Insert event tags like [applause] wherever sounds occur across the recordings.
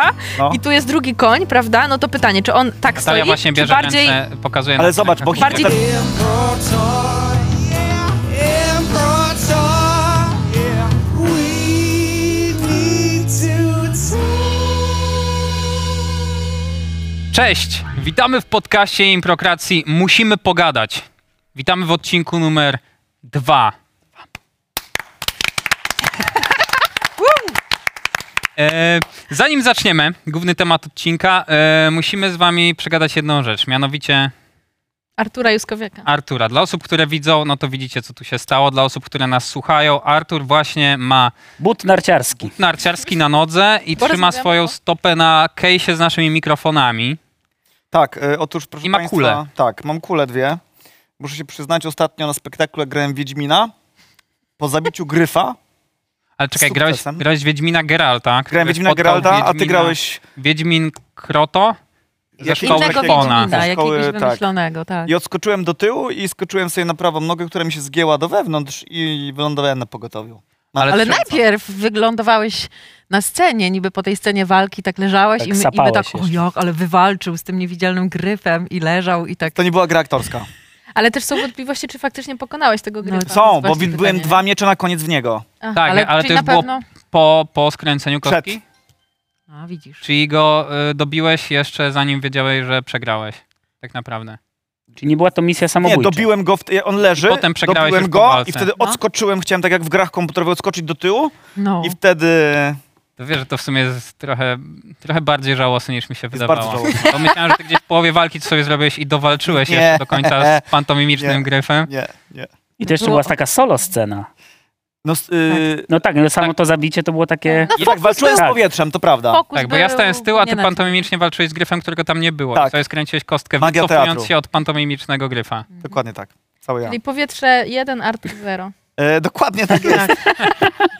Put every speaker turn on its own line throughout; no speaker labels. konia
No.
i tu jest drugi koń, prawda? No to pytanie, czy on tak
Natalia
stoi,
właśnie
czy
bierze
bardziej...
ręce, pokazuje
Ale
na
zobacz, bo
rękach.
Bardziej-
Hitler,
Imperator, yeah, Imperator, yeah. We need to talk.
Cześć! Witamy w podcaście Improkracji Musimy Pogadać. Witamy w odcinku numer
[laughs]
dwa. E, zanim zaczniemy, główny temat odcinka, e, musimy z wami przegadać jedną rzecz, mianowicie
Artura Juskowiaka.
Artura. Dla osób, które widzą, no to widzicie, co tu się stało. Dla osób, które nas słuchają, Artur właśnie ma
But narciarski.
narciarski na nodze i trzyma
Porozmawiamy
swoją
o-
stopę na kejsie z naszymi mikrofonami.
tak, e, otóż proszę
I ma
państwa,
kulę.
Tak, mam kulę dwie. Muszę się przyznać, ostatnio na spektaklu jak grałem Wiedźmina. Po zabiciu Gryfa
Ale czekaj,
Z
grałeś,
sukcesem.
grałeś Wiedźmina Geralta. który
grałem Wiedźmina
spotkał
Geralda, a ty
Wiedźmina-
grałeś...
Wiedźmin Kroto? Ze
Jakiego
szkoły
Innego
Wiedźmina?
Krona.
Wiedźmina, jakiegoś
Szkoły, tak.
wymyślonego, tak.
I odskoczyłem do tyłu i skoczyłem sobie na prawą nogę, która mi się zgięła do wewnątrz i wylądowałem na pogotowiu. Na
Ale
Ale
strzelca.
najpierw wyglądowałeś na scenie, niby po tej scenie walki tak leżałeś
Tak
i, my, i my
sapałeś
tak, o
jeszcze.
jak, ale wywalczył z tym niewidzialnym gryfem i leżał i tak.
To nie była gra aktorska.
Tak,
Ale też są wątpliwości, czy faktycznie pokonałeś tego gryfa.
to
Są,
jest
No bo
właśnie
wi- byłem
pytanie.
dwa miecze na koniec w niego.
Aha,
Tak, ale,
czyli
to już
na
było
pewno
po, po skręceniu
Przed.
kostki?
A, widzisz.
Czyli go y, dobiłeś jeszcze zanim wiedziałeś, że przegrałeś. Tak naprawdę.
Czyli nie była to misja
Nie,
samobójcza.
dobiłem go, w, on leży,
I potem przegrałeś
dobiłem
już po
go
walce.
i wtedy
No.
odskoczyłem, chciałem tak jak w grach komputerowych odskoczyć do tyłu
No.
i wtedy...
To wiesz, że to w sumie jest trochę, trochę bardziej żałosne niż mi się
bardzo
wydawało.
żałosne.
Bo myślałem, że ty gdzieś w połowie walki coś zrobiłeś i dowalczyłeś
Nie.
jeszcze do
[laughs]
końca z pantomimicznym
Nie.
gryfem.
Nie, nie.
I to jeszcze
Było-
była taka solo scena.
No, s- y,
No tak, no samo to zabicie to było takie...
I tak walczyłem z
był-
powietrzem, to prawda.
Fokus
Tak, bo ja
był
stałem z tyłu, a ty
nie no, na-
pantomimicznie walczyłeś z gryfem, którego tam nie było.
Tak.
I sobie skręciłeś kostkę,
Magia
wycofując
teatru.
się od pantomimicznego gryfa.
Dokładnie tak. Cały ja.
czyli powietrze 1, Artur 0.
E, dokładnie tak
[laughs]
jest.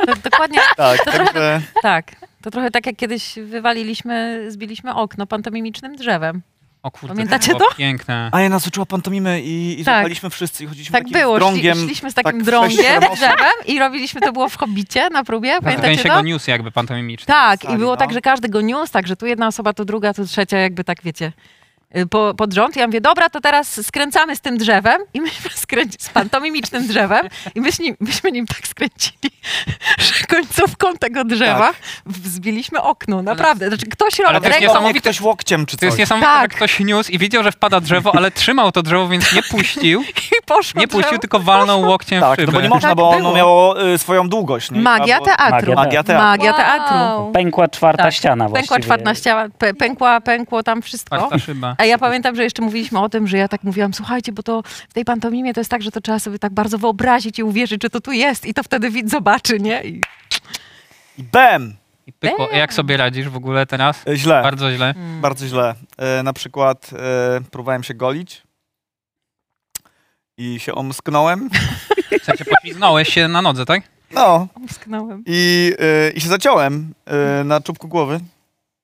To, dokładnie [laughs]
Tak, także
tak. To trochę tak jak kiedyś wywaliliśmy, zbililiśmy okno pantomimicznym drzewem. Tak
O kurde,
Pamiętacie
to? było Piękne.
Ania nas uczyła pantomimy i, i
Tak.
zapaliśmy wszyscy i chodziliśmy
Tak
takim
było,
drągiem.
Szli, szliśmy z takim
tak [laughs]
drągiem,
sześciorem osób.
drzewem i robiliśmy, to było w Hobbicie na próbie, pamiętacie
Gęsiego
to?
news jakby pantomimiczny.
Tak,
Sali,
i było
no.
tak, że każdy go niósł, tak, że tu jedna osoba, tu druga, tu trzecia, jakby tak, wiecie, y, po, pod rząd. I ja mówię, dobra, to teraz skręcamy z tym drzewem i [laughs] myśmy skręcili z pantomimicznym drzewem i myśmy nim, myśmy nim tak skręcili, [laughs] że końcówką tego drzewa zbiliśmy okno, naprawdę. Znaczy ktoś
Ale
robił
to jest
ręką,
niesamowite.
Niesamowite. ktoś łokciem czy
To
coś.
jest niesamowite,
Tak.
że ktoś niósł i wiedział, że wpada drzewo, ale trzymał to drzewo, więc nie
[laughs]
puścił.
i poszło
Nie
drzewo.
puścił, tylko walnął łokciem w
tak, no
szybę.
bo nie można,
Tak
bo ono
było.
miało y, swoją długość. Nie?
Magia
Albo-
teatru.
Magia
Magia teatru.
Magia teatru.
Pękła czwarta
Tak.
ściana właściwie.
Pękła czwartna ściana, pę- pękła, pękło tam wszystko.
Czwarta szyba.
A ja pamiętam, że jeszcze mówiliśmy o tym, że ja tak mówiłam, słuchajcie, bo to w tej pantomimie to jest tak, że to trzeba sobie tak bardzo wyobrazić i uwierzyć, że to tu jest i to wtedy widz zobaczy, nie? I...
I bam!
I pykło. Jak sobie radzisz w ogóle teraz?
Y, Źle, bardzo,
Bardzo źle.
źle. Y, na przykład y, próbowałem się golić i się omsknąłem.
W sensie poślizgnąłeś się na nodze, tak?
No,
Omsknąłem.
i, y, i się zaciąłem y, na czubku głowy,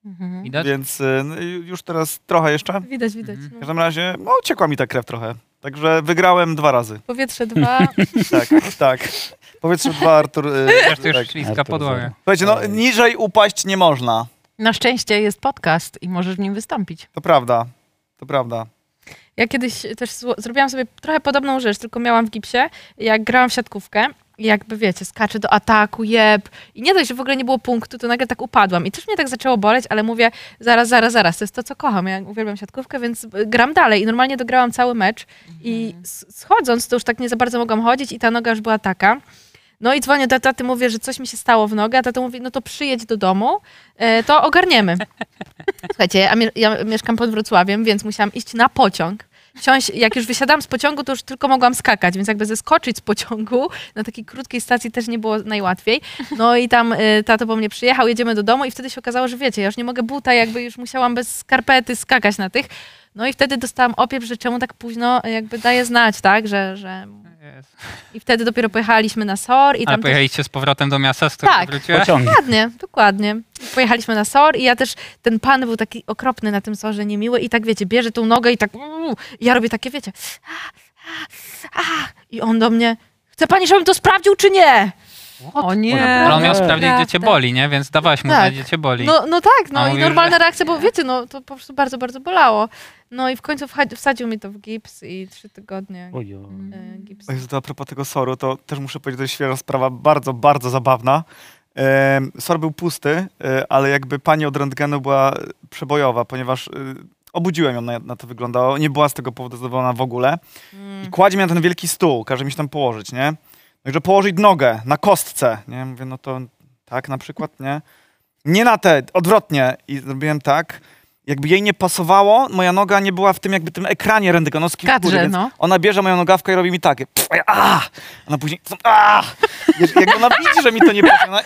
Mhm.
Widać?
więc y, no, i już teraz trochę jeszcze.
Widać, widać.
Mhm.
W
No.
każdym razie, no, ciekła mi ta krew trochę. Także wygrałem dwa razy.
Powietrze 2,
Tak, tak. Powietrze dwa, Artur. y,
Zresztą już
tak.
śliska
Artur,
podłoga.
zero.
Słuchajcie, no niżej upaść nie można.
Na szczęście jest podcast i możesz w nim wystąpić.
To prawda. To prawda.
Ja kiedyś też zło- zrobiłam sobie trochę podobną rzecz, tylko miałam w gipsie, jak grałam w siatkówkę. I jakby wiecie, skaczę do ataku, jeb. I nie dość, że w ogóle nie było punktu, to nagle tak upadłam. I też mnie tak zaczęło boleć, ale mówię, zaraz, zaraz, zaraz, to jest to, co kocham. Ja uwielbiam siatkówkę, więc y, gram dalej. I normalnie dograłam cały mecz. I s- schodząc, to już tak nie za bardzo mogłam chodzić i ta noga już była taka. No i dzwonię do taty, mówię, że coś mi się stało w nogę, a tata mówi, no to przyjedź do domu, e, to ogarniemy. Słuchajcie, ja, mie- ja mieszkam pod Wrocławiem, więc musiałam iść na pociąg. Wsiąść, jak już wysiadałam z pociągu, to już tylko mogłam skakać, więc jakby zeskoczyć z pociągu na takiej krótkiej stacji też nie było najłatwiej. No i tam y, tato po mnie przyjechał, jedziemy do domu i wtedy się okazało, że wiecie, ja już nie mogę buta, jakby już musiałam bez skarpety skakać na tych. No i wtedy dostałam opiew, że czemu tak późno y, jakby daje znać, tak, że... że...
Jest.
I wtedy dopiero pojechaliśmy na SOR i
Ale
tam też...
pojechaliście z powrotem do miasta, z którego
Tak.
wróciłeś?
Pociągnie.
Dokładnie, dokładnie. Pojechaliśmy na SOR i ja też, ten pan był taki okropny na tym SORze, niemiły i tak wiecie, bierze tą nogę i tak uuu, i ja robię takie, wiecie, a, a, a, i on do mnie, chce pani, żebym to sprawdził czy nie?
O nie.
Ale on miał
Tak.
sprawdzić, gdzie cię
Tak, tak.
boli, nie? Więc dawałaś mu,
Tak.
znać, gdzie cię boli.
No, no tak, no
A
i
mówił,
normalna
że-
reakcja, bo wiecie, no to po prostu bardzo, bardzo bolało. No i w końcu wcha- wsadził mi to w gips i trzy tygodnie
Ojo.
e, gips.
O Jezu, to a propos tego soru, to też muszę powiedzieć, to jest świeża sprawa, bardzo, bardzo zabawna. Em, Sor był pusty, e, ale jakby pani od rentgenu była e, przebojowa, ponieważ e, obudziłem ją, na, na to wyglądało. Nie była z tego powodu zadowolona w ogóle. I kładzie mnie na ten wielki stół, każe mi się tam położyć, nie? No i że położyć nogę na kostce, nie? Mówię, no to tak na przykład, nie? Nie na te, odwrotnie. I zrobiłem tak. Jakby jej nie pasowało, moja noga nie była w tym jakby tym ekranie rentgenowskim.
Kadrze,
góry, więc
no.
Ona bierze moją nogawkę i robi mi takie. Pff, a ja, a! Ona później. A! Wiesz, jak ona widzi, że mi to nie pasuje, ona,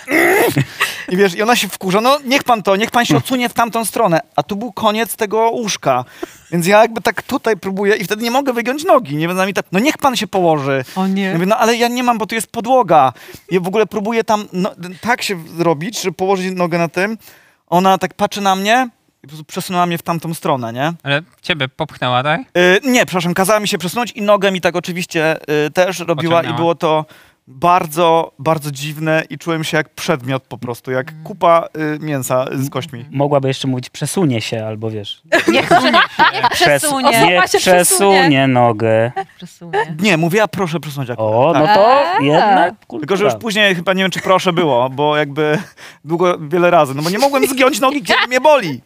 i wiesz, i ona się wkurza, no niech pan to, niech pan się odsunie w tamtą stronę. A tu był koniec tego łóżka. Więc ja jakby tak tutaj próbuję i wtedy nie mogę wygiąć nogi. Nie wiem, mi tak, no niech pan się położy.
O
Ja
nie.
mówię, no ale ja nie mam, bo tu jest podłoga. Ja w ogóle próbuję tam no, tak się zrobić, że położyć nogę na tym. Ona tak patrzy na mnie i po prostu przesunęła mnie w tamtą stronę, nie?
Ale ciebie popchnęła, tak?
Y, nie, przepraszam, kazała mi się przesunąć i nogę mi tak oczywiście y, też robiła
Pociągnęła.
i było to bardzo, bardzo dziwne i czułem się jak przedmiot po prostu, jak kupa y, mięsa z kośćmi.
Mogłaby jeszcze mówić, przesunie się
[laughs]
albo wiesz.
Niech przesunie.
Przes-
Osoba
niech
się
przesunie
przesunie.
nogę.
Przesunie.
Nie, mówiła proszę przesunąć akurat.
O, no
tak.
to jednak kultura.
Tylko, że już później chyba nie wiem, czy proszę było, bo jakby [laughs] długo, wiele razy, no bo nie mogłem zgiąć nogi, gdzie mnie boli.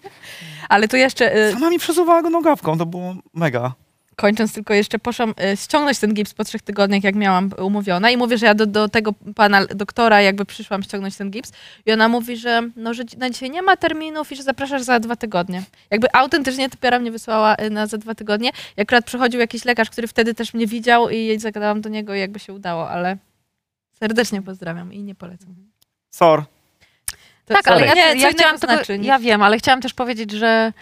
Ale tu jeszcze, e,
Sama mi przesuwała go nogawką, to było mega.
kończąc tylko jeszcze, poszłam e, ściągnąć ten gips po trzech tygodniach, jak miałam umówiona i mówię, że ja do, do tego pana doktora jakby przyszłam ściągnąć ten gips i ona mówi, że no, że dzi- na dzisiaj nie ma terminów i że zapraszasz za dwa tygodnie. Jakby autentycznie typiara mnie wysłała e, na za dwa tygodnie i akurat przychodził jakiś lekarz, który wtedy też mnie widział i zagadałam do niego i jakby się udało, ale serdecznie pozdrawiam i nie polecam.
Sor.
To-
Tak, ale
Sorry.
Nie, co
ja, ja
innego
chciałam tylko,
znaczy, nie-
ja wiem, ale chciałam też powiedzieć, że,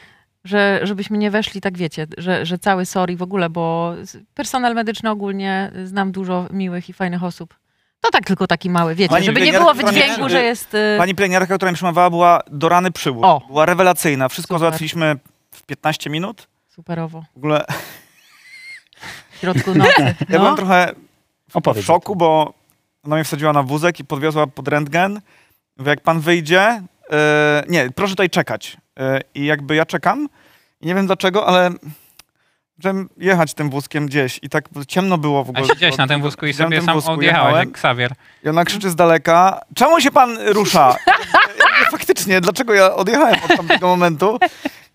że żebyśmy nie weszli, tak wiecie, że, że cały sorry w ogóle, bo z- personel medyczny ogólnie znam dużo miłych i fajnych osób. To tak tylko taki mały, wiecie,
Pani
żeby nie
pielęgniar-
było
pani-
wydźwięku, że jest... y,
Pani pielęgniarka, która mi przemawiała, była do rany przyłóż.
O.
Była rewelacyjna. Wszystko
Super.
załatwiliśmy w 15 minut.
Superowo,
W ogóle [laughs]
w środku nocy.
ja byłem
No.
trochę w
Opowiedz.
szoku, bo ona mnie wsadziła na wózek i podwiozła pod rentgen. Mówi, jak pan wyjdzie, yy, nie, proszę tutaj czekać. Yy, I jakby ja czekam i nie wiem dlaczego, ale zacząłem jechać tym wózkiem gdzieś i tak ciemno było w
A
ogóle.
siedziałeś na tym wózku i
Siedziałem
sobie
na tym
sam
wózku,
odjechałeś,
jechałem.
jak Xavier.
I ona krzyczy z daleka, czemu się pan rusza? Jakby Faktycznie, dlaczego ja odjechałem od tamtego momentu?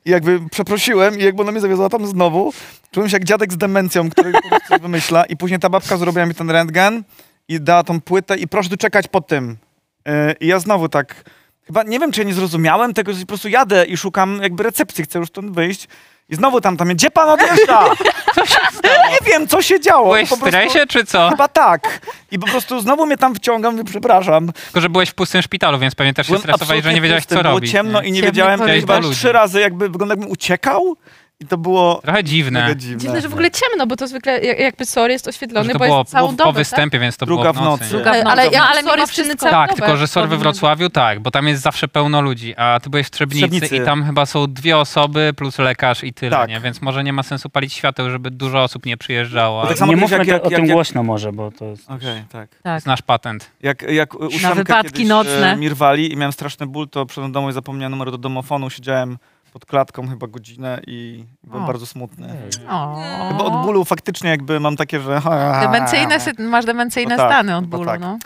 I jakby przeprosiłem i jakby ona mnie zawiozła tam znowu. Czułem się jak dziadek z demencją, który po prostu coś wymyśla. I później ta babka zrobiła mi ten rentgen i dała tą płytę i proszę tu czekać po tym. Yy, I ja znowu tak, chyba nie wiem, czy ja nie zrozumiałem tego, że po prostu jadę i szukam jakby recepcji, chcę już stąd wyjść. I znowu tam, tam, gdzie pan
[laughs]
odjeżdża? Nie wiem, co się działo.
Byłeś
Po
w
prostu-
stresie, czy co?
[laughs] Chyba tak. I po prostu znowu mnie tam wciągam, mówię, przepraszam.
Tylko, że byłeś w pustym szpitalu, więc pewnie też się
Byłem
stresowałeś, że
absolutnie
nie wiedziałeś,
pusty,
co
Było
robić.
ciemno
nie?
i nie
Ciemny
wiedziałem,
korytarz.
chyba
Ludzi.
trzy razy jakby wyglądał jakbym uciekał i to było
Trochę
mega
dziwne.
dziwne.
Dziwne, że w ogóle ciemno, bo to zwykle jak- jakby sorry jest oświetlony,
Że to
bo
było,
jest całą
było po
dobę, tak?
występie, więc to
Druga w
było
nocy.
Druga w
Ale-
nocy.
ale ja-
no, ale
sorry,
mimo
wszyscy
wszystko...
całą-
Tak,
Dobę.
tylko że SOR we
Powinno
Wrocławiu tak, bo tam jest zawsze pełno ludzi, a ty byłeś w Trzebnicy,
Trzebnicy.
i tam chyba są dwie osoby plus lekarz i tyle,
Tak.
nie? więc może nie ma sensu palić świateł, żeby dużo osób nie przyjeżdżało.
Bo
ale
tak samo
nie
kiedyś,
mówmy
jak-
te-
jak-
o
jak-
tym
jak-
głośno może, bo to jest...
Okej, tak.
Tak.
Znasz patent.
Jak, jak u Siemka
wypadki
kiedyś,
nocne.
e, mi rwali i miałem straszny ból, to przyszedłem do domu i zapomniałem numer do domofonu, siedziałem pod klatką chyba godzinę i byłem
O.
bardzo smutny.
O.
Chyba od bólu faktycznie jakby mam takie, że...
Demencyjne, sy- masz demencyjne
No tak,
stany od
no
bólu,
tak.
no.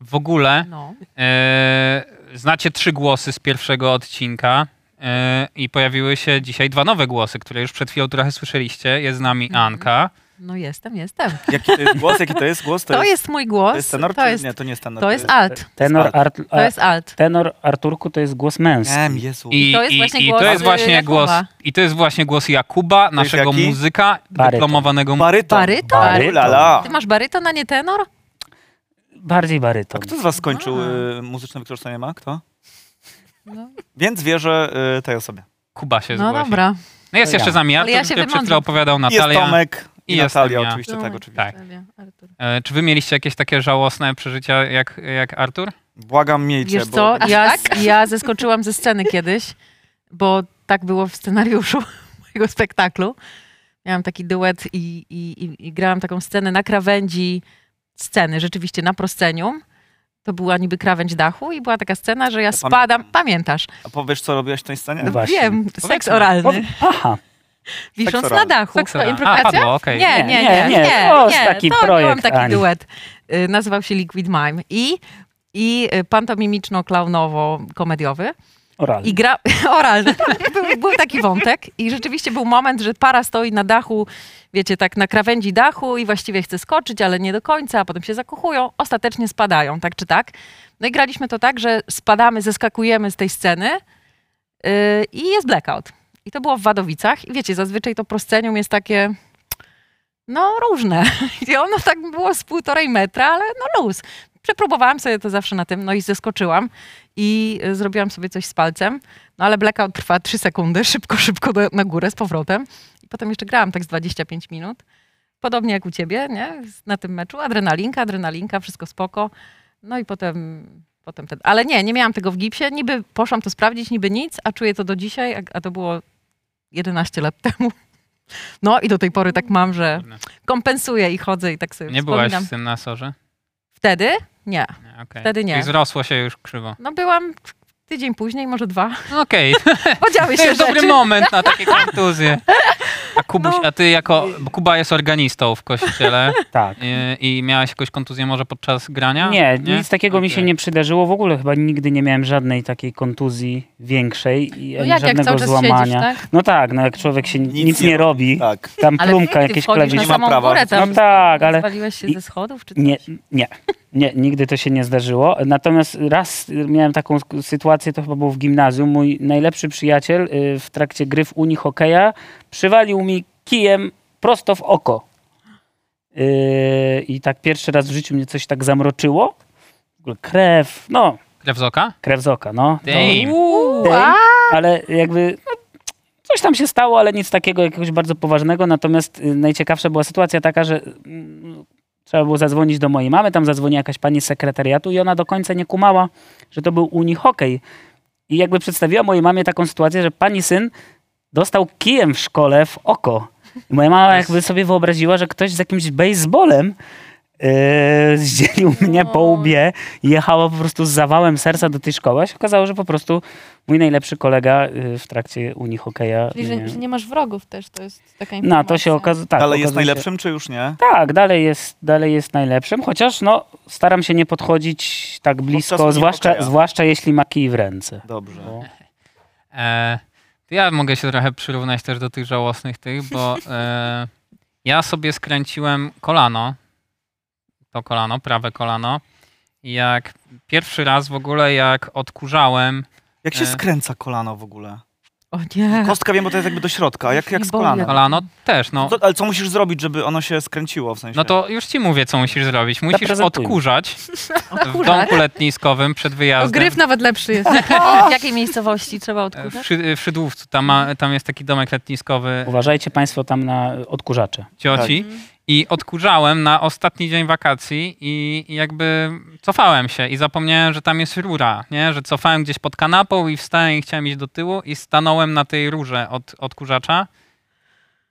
W ogóle
no.
e, znacie trzy głosy z pierwszego odcinka e, i pojawiły się dzisiaj dwa nowe głosy, które już przed chwilą trochę słyszeliście. Jest z nami Anka.
No jestem, jestem.
Jaki to jest głos? Jaki to jest głos?
To jest mój głos.
to jest tenor?
to
czy
jest,
nie, to nie jest tenor.
to jest alt.
Tenor,
Spark.
Art,
To jest alt.
tenor Arturku to jest głos męski.
Em, Jezu.
I,
To jest właśnie
i, i
głos,
to jest
y,
właśnie
Jakuba.
głos I to jest właśnie głos Jakuba, naszego
jaki?
muzyka,
Baryton.
dyplomowanego mu-
Baryton.
Baryton?
Baryton.
Ulala.
Ty masz baryton, a nie tenor?
Bardziej baryton.
A kto z was skończył y, muzyczne wykształcenie ma? Kto? Więc wierzę y, tej osobie.
Kuba się
No
zgłosił.
dobra.
No jest
To
jeszcze
ja.
z nami
Ale
Artur,
ja
ja
się
się przed chwilą
wymądrzę.
opowiadał
I Jest
Natalia.
Tomek i,
i jestem
Natalia,
ja.
oczywiście,
No.
tak, oczywiście.
Tak. E, Czy wy mieliście jakieś takie żałosne przeżycia jak, jak Artur?
Błagam, miejcie,
Wiesz
bo
co, ja, ja zeskoczyłam ze sceny kiedyś, bo tak było w scenariuszu [laughs] mojego spektaklu. Miałam taki duet i, i, i, i grałam taką scenę na krawędzi sceny, rzeczywiście na proscenium. To była niby krawędź dachu i była taka scena, że ja
pamiętam.
spadam. Pamiętasz?
A powiesz, co robiłaś w tej scenie?
No właśnie.
Wiem, seks
Powiedzmy.
oralny,
Aha,
wisząc na
oralny.
dachu.
Seksa. tak. A,
improwizacja?
padło, okej.
Nie, nie, nie, nie, nie,
To jest taki
to miałam
projekt,
taki
Ani.
duet. Y, Nazywał się Liquid Mime i, i y, pantomimiczno-klaunowo-komediowy.
oralny.
I gra [laughs] oralny. Był, był taki wątek i rzeczywiście był moment, że para stoi na dachu, wiecie, tak na krawędzi dachu i właściwie chce skoczyć, ale nie do końca, a potem się zakochują, ostatecznie spadają, tak czy tak. No i graliśmy to tak, że spadamy, zeskakujemy z tej sceny yy, i jest blackout. I to było w Wadowicach i wiecie, zazwyczaj to proscenium jest takie no różne. [laughs] I ono tak było z półtorej metra, ale no luz. Przepróbowałam sobie to zawsze na tym, no i zeskoczyłam i y, zrobiłam sobie coś z palcem, no ale blackout trwa 3 sekundy, [laughs] szybko, szybko do, na górę z powrotem. I potem jeszcze grałam tak z 25 minut. Podobnie jak u ciebie, nie? Z- Na tym meczu. Adrenalinka, adrenalinka, wszystko spoko. No i potem, potem ten... Ale nie, nie miałam tego w gipsie. Niby poszłam to sprawdzić, niby nic, a czuję to do dzisiaj, a, a to było 11 lat [laughs] temu. No i do tej pory tak mam, że
Trudne.
kompensuję i chodzę i tak sobie
No. Nie byłaś
wspominam.
z tym na sorze?
Wtedy? Nie.
Nie, okej.
Wtedy nie.
Czyli zrosło się już krzywo.
No byłam tydzień później, może dwa.
No
[laughs]
Okej,
Podziały
to
się
jest dobry
rzeczy.
moment na takie kontuzje. A, Kubuś,
No.
a ty jako... Bo Kuba jest organistą w kościele e,
Tak.
i, i miałaś jakąś kontuzję może podczas grania?
Nie, nic takiego mi się
Okej.
nie przydarzyło. W ogóle chyba nigdy nie miałem żadnej takiej kontuzji większej i
No jak,
ani
jak
żadnego
cały czas
złamania.
siedzisz, tak?
No tak, no jak człowiek się nic, nie,
nie
robi,
Tak.
tam
Ale
plumka
ty
jakieś
wchodzisz na
klawisze.
Nie ma
samą
prawa.
górę tam.
No tak, ale-
Zwaliłeś się ze schodów czy coś?
Nie, nie, nie, nigdy to się nie zdarzyło. Natomiast raz y, miałem taką sk- sytuację, to chyba był w gimnazjum. Mój najlepszy przyjaciel y, w trakcie gry w Unii Hokeja przywalił mi kijem prosto w oko. Y, I tak pierwszy raz w życiu mnie coś tak zamroczyło. W ogóle Krew, no,
Krew z oka?
krew z oka, no. To-
Damn.
Tej, ale jakby no, coś tam się stało, ale nic takiego jakiegoś bardzo poważnego. Natomiast y, najciekawsza była sytuacja taka, że mm, trzeba było zadzwonić do mojej mamy, tam zadzwoniła jakaś pani z sekretariatu i ona do końca nie kumała, że to był uni hokej. I jakby przedstawiła mojej mamie taką sytuację, że pani syn dostał kijem w szkole w oko. I moja mama jakby sobie wyobraziła, że ktoś z jakimś baseballem yy, zdzielił mnie po łbie i jechała po prostu z zawałem serca do tej szkoły. A się okazało, że po prostu mój najlepszy kolega yy, w trakcie uni hokeja...
Czyli,
mnie-
że, że nie masz wrogów też, to jest taka informacja.
no, to się okazało... Tak,
Ale jest
okazuje się-
najlepszym, czy już nie?
tak, dalej jest, dalej jest najlepszym, chociaż no, staram się nie podchodzić tak blisko,
Podczas
zwłaszcza,
hokeja.
zwłaszcza jeśli ma kij w ręce.
Dobrze.
Bo-
E, to ja mogę się trochę przyrównać też do tych żałosnych tych, bo e, ja sobie skręciłem kolano, to kolano, prawe kolano, jak pierwszy raz w ogóle jak odkurzałem,
Jak się
E.
skręca kolano w ogóle?
O nie.
Kostka wiem, bo to jest jakby do środka. a Jak,
Już
jak
nie
z
boję.
kolana?
kolano też, no,
To, ale co musisz zrobić, żeby ono się skręciło w sensie?
no to już ci mówię, co musisz zrobić. Musisz
Zaprezentuj.
odkurzać w
Odkurzacz?
domku letniskowym przed wyjazdem.
Ogryw nawet lepszy jest. [laughs]
W jakiej miejscowości trzeba
E, W,
odkurzać?
Szy- w Szydłówcu, tam, ma, tam jest taki domek letniskowy
Uważajcie Państwo tam na odkurzacze.
cioci i odkurzałem na ostatni dzień wakacji i i jakby cofałem się i zapomniałem, że tam jest rura, nie? Że cofałem gdzieś pod kanapą i wstałem i chciałem iść do tyłu i stanąłem na tej rurze od odkurzacza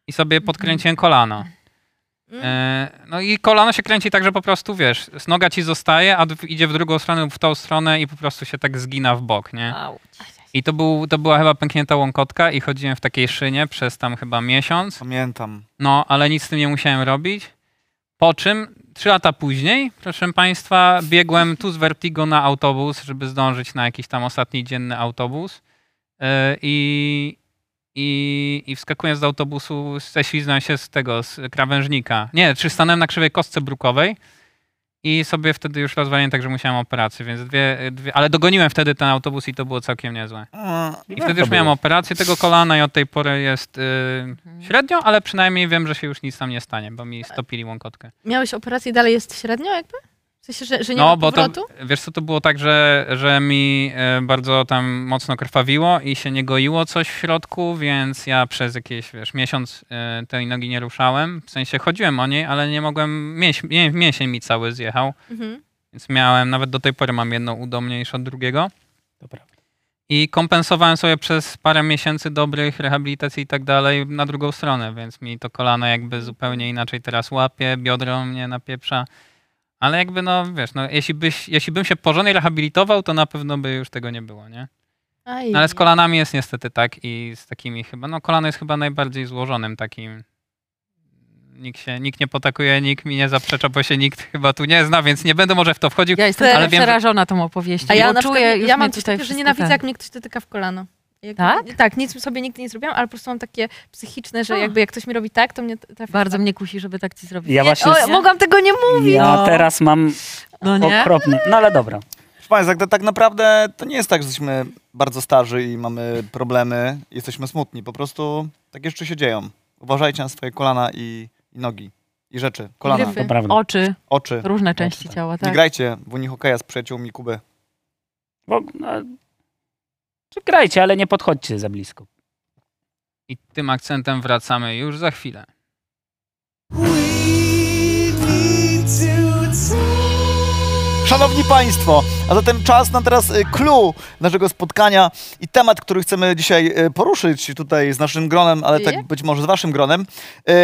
i sobie podkręciłem kolano. E, No i kolano się kręci tak, że po prostu, wiesz, z noga ci zostaje, a d- idzie w drugą stronę lub w tą stronę i po prostu się tak zgina w bok, nie?
Au.
I to, był, to była chyba pęknięta łąkotka i chodziłem w takiej szynie przez tam chyba miesiąc.
Pamiętam.
No, ale nic z tym nie musiałem robić. Po czym trzy lata później, proszę Państwa, biegłem tu z Vertigo na autobus, żeby zdążyć na jakiś tam ostatni dzienny autobus. Yy, I, i, i wskakując z autobusu, ześliznąłem się z tego, z krawężnika. Nie, czy stanąłem na krzywej kostce brukowej i sobie wtedy już rozwaliłem, także musiałem operację, więc dwie, dwie, ale dogoniłem wtedy ten autobus i to było całkiem niezłe.
Mm,
I wtedy już miałem operację tego kolana i od tej pory jest y, średnio, ale przynajmniej wiem, że się już nic tam nie stanie, bo mi stopili łąkotkę.
Miałeś operację i dalej jest średnio jakby? W sensie, że, że nie
No,
ma
bo to,
powrotu?
wiesz co, to było tak, że, że mi y, bardzo tam mocno krwawiło i się nie goiło coś w środku, więc ja przez jakieś, wiesz, miesiąc y, tej nogi nie ruszałem, w sensie chodziłem o niej, ale nie mogłem, mięś, mię, mięsień mi cały zjechał,
Mhm.
więc miałem, nawet do tej pory mam jedno udo mniejsze od drugiego.
To prawda.
I kompensowałem sobie przez parę miesięcy dobrych rehabilitacji i tak dalej na drugą stronę, więc mi to kolano jakby zupełnie inaczej teraz łapie, biodro mnie napieprza, Ale jakby, no wiesz, no, jeśli, byś, jeśli bym się porządnie rehabilitował, to na pewno by już tego nie było, nie?
Aj.
No, ale z kolanami jest niestety tak i z takimi chyba, no kolano jest chyba najbardziej złożonym takim. Nikt się, nikt nie potakuje, nikt mi nie zaprzecza, bo się nikt chyba tu nie zna, więc nie będę może w to wchodził.
Ja jestem
ale
ale
wiem, że-
przerażona tą opowieścią.
A ja
bo
na
czuję,
czuję, przykład, ja
już mnie
mam coś
tutaj
takiego, że
wszystko
nienawidzę,
ten-
jak mnie ktoś dotyka w kolano. Jakby,
Tak?
Tak, nic sobie nigdy nie zrobiłam, ale po prostu mam takie psychiczne, że
A.
jakby jak ktoś mi robi tak, to mnie trafi.
Bardzo mnie kusi, żeby tak ci zrobić.
Ja właśnie
O, mogłam tego nie mówić.
ja
No.
teraz mam
No nie?
okropny. No ale dobra.
Proszę Państwa, tak- tak naprawdę to nie jest tak, że jesteśmy bardzo starzy i mamy problemy, jesteśmy smutni. Po prostu takie rzeczy się dzieją. Uważajcie na swoje kolana i, i nogi, i rzeczy. Kolana,
Gryfy.
To prawda.
Oczy,
oczy.
różne części
tak.
ciała,
Nie
tak.
grajcie w unihokeja z przyjaciółmi Kuby.
Bo, no, czy grajcie, ale nie podchodźcie za blisko.
I tym akcentem wracamy już za chwilę.
We need to talk.
Szanowni Państwo, a zatem czas na teraz y, clue naszego spotkania i temat, który chcemy dzisiaj y, poruszyć tutaj z naszym gronem, ale tak
Je?
być może z Waszym gronem,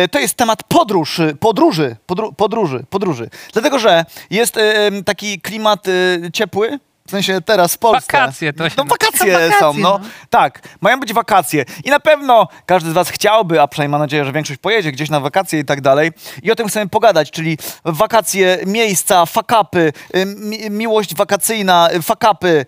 y, to jest temat podróż, y, podróży, podró- podróży, podróży. Dlatego, że jest y, y, taki klimat y, ciepły, w sensie teraz w Polsce.
Wakacje to się
No
na-
wakacje,
To wakacje,
są, no.
no.
Tak, mają być wakacje. I na pewno każdy z Was chciałby, a przynajmniej mam nadzieję, że większość pojedzie gdzieś na wakacje i tak dalej. I o tym chcemy pogadać, czyli wakacje, miejsca, fakapy, mi miłość wakacyjna, y, fakapy,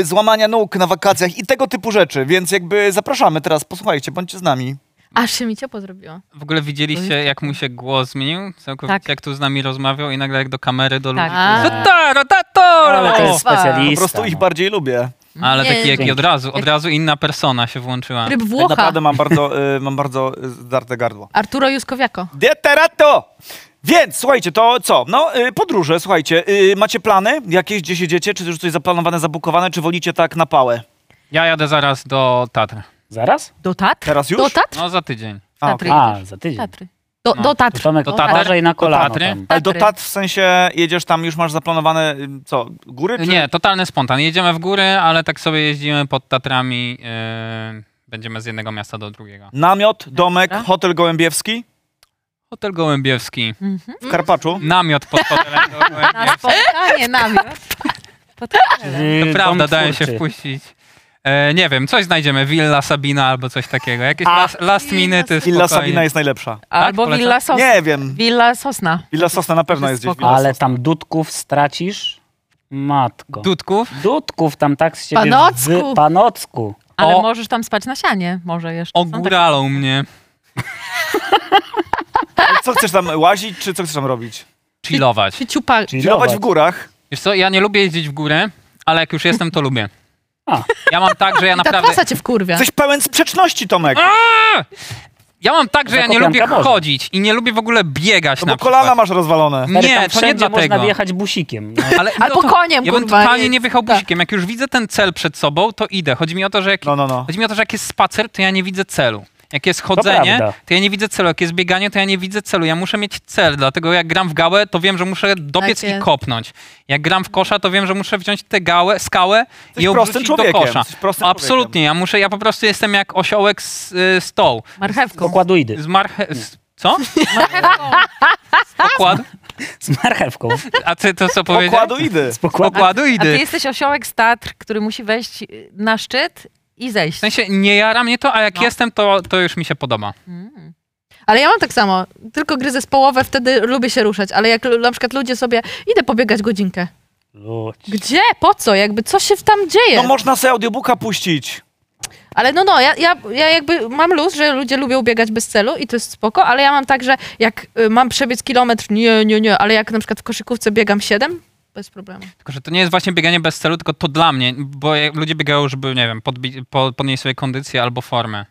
y, złamania nóg na wakacjach i tego typu rzeczy. Więc jakby zapraszamy teraz, posłuchajcie, bądźcie z nami.
Aż się mi ciepło zrobiło.
W ogóle widzieliście, jak mu się głos zmienił? Całkowicie
Tak.
jak tu z nami rozmawiał i nagle jak do kamery, do
Tak.
ludzi.
A.
To ta, ro, ta, to, ro.
Ale to jest specjalista.
Po prostu ich
no.
bardziej lubię.
Ale
Nie,
taki jak i
dzięki.
od razu, od razu inna persona się włączyła.
Ryb
Tak
Włocha.
naprawdę mam bardzo, y, mam bardzo y, zdarte gardło.
Arturo Juskowiako.
Deterato! Więc, słuchajcie, to co? No, y, podróże, słuchajcie. Y, macie plany jakieś, gdzie się dziecie? Czy już coś zaplanowane, zabukowane? Czy wolicie tak na pałę?
Ja jadę zaraz do Tatr.
Zaraz?
Do Tatr?
Teraz już?
Do Tatr?
No za tydzień.
A,
Tatry.
okej.
A, za tydzień.
Tatry.
Do,
No.
do
To
Tatr.
Tomek,
To
to
Tatry.
uważaj na
To
kolano
Tatry.
tam.
Ale do
Tatry.
tat w sensie jedziesz tam, już masz zaplanowane, y, co, góry? Czy...
Nie, totalny spontan. Jedziemy w góry, ale tak sobie jeździmy pod Tatrami. Yy, będziemy z jednego miasta do drugiego.
Namiot, domek,
Dobra.
hotel gołębiewski
Hotel Gołębiewski.
Mhm.
w Karpaczu.
Namiot pod
[laughs]
hotelem
Na
Gołębiewski.
spotkanie namiot. Pod hotelem.
Yy,
To prawda,
dom
daje się
twórczy.
wpuścić. E, nie wiem, coś znajdziemy. Villa Sabina albo coś takiego. Jakieś
A,
last, last minuty
Illa
spokojnie.
Sabina jest najlepsza.
Albo
Tak, polecam.
Villa Sosna.
Nie wiem.
Villa Sosna.
Illa Sosna na pewno jest gdzieś.
Spoko.
Villa
Ale
Sosna.
tam dudków stracisz? Matko.
Dudków.
Dudków tam tak z ciebie...
Panocku.
wy- Panocku.
Ale
O.
możesz tam spać na sianie, może jeszcze. Są takie-
Ogóralą mnie.
Ale Co chcesz tam łazić, czy co chcesz tam robić?
Chillować.
Czy ciupa.
Chillować w górach.
Wiesz co, ja nie lubię jeździć w górę, ale jak już jestem, to lubię.
A.
Ja mam tak, że ja
I ta
naprawdę...
trasa cię
Tak.
wkurwia.
Jesteś pełen sprzeczności, Tomek.
Ja mam tak, że ja nie
Zakopianka
lubię
może.
chodzić i nie lubię w ogóle biegać
No
na
bo
przykład.
kolana masz rozwalone.
Stary,
Nie, to
tam
nie
wszędzie
dlatego.
można wjechać
[laughs]
busikiem. No,
Ale
Albo
to-
koniem,
Ja bym
kurwa, Tak.
totalnie
nie-
nie wyjechał busikiem. Jak już widzę ten cel przed sobą, to idę. Chodzi mi o to, że jak,
No, no, no.
chodzi mi o to, że jak jest spacer, to ja nie widzę celu. Jak jest chodzenie, to,
prawda.
ja nie widzę celu. Jak jest bieganie, to ja nie widzę celu. Ja muszę mieć cel, dlatego jak gram w gałę, to wiem, że muszę dobiec
Tak
i
jest.
kopnąć. Jak gram w kosza, to wiem, że muszę wziąć tę gałę, skałę
Jesteś
i
prostym
obrzucić do
człowiekiem,
kosza.
jesteś prostym
Absolutnie, ja muszę, ja po prostu jestem jak osiołek z y, stołu.
Marchewką.
Pokładuidy.
Z marche... Z,
[laughs]
co? Okład?
Z marchewką.
A ty to co powiedziałeś?
Okładu idy.
Z pokładu.
Okładu
A ty
idy.
jesteś osiołek z Tatr, który musi wejść y, na szczyt i zejść.
W sensie nie jara mnie to, a jak
No.
jestem, to, to już mi się podoba.
Mm.
Ale ja mam tak samo. Tylko gry zespołowe, wtedy lubię się ruszać. Ale jak lu- na przykład ludzie sobie... Idę pobiegać godzinkę.
Ludź.
Gdzie? Po co? Jakby co się tam dzieje?
No można sobie audiobooka puścić.
Ale no, no, ja, ja, ja jakby mam luz, że ludzie lubią biegać bez celu i to jest spoko, ale ja mam tak, że jak y, mam przebiec kilometr, nie, nie, nie, ale jak na przykład w koszykówce biegam 7, bez problemu.
Tylko, że to nie jest właśnie bieganie bez celu, tylko to dla mnie, bo jak ludzie biegają, żeby, nie wiem, podbi- po, podnieść sobie kondycję albo formę.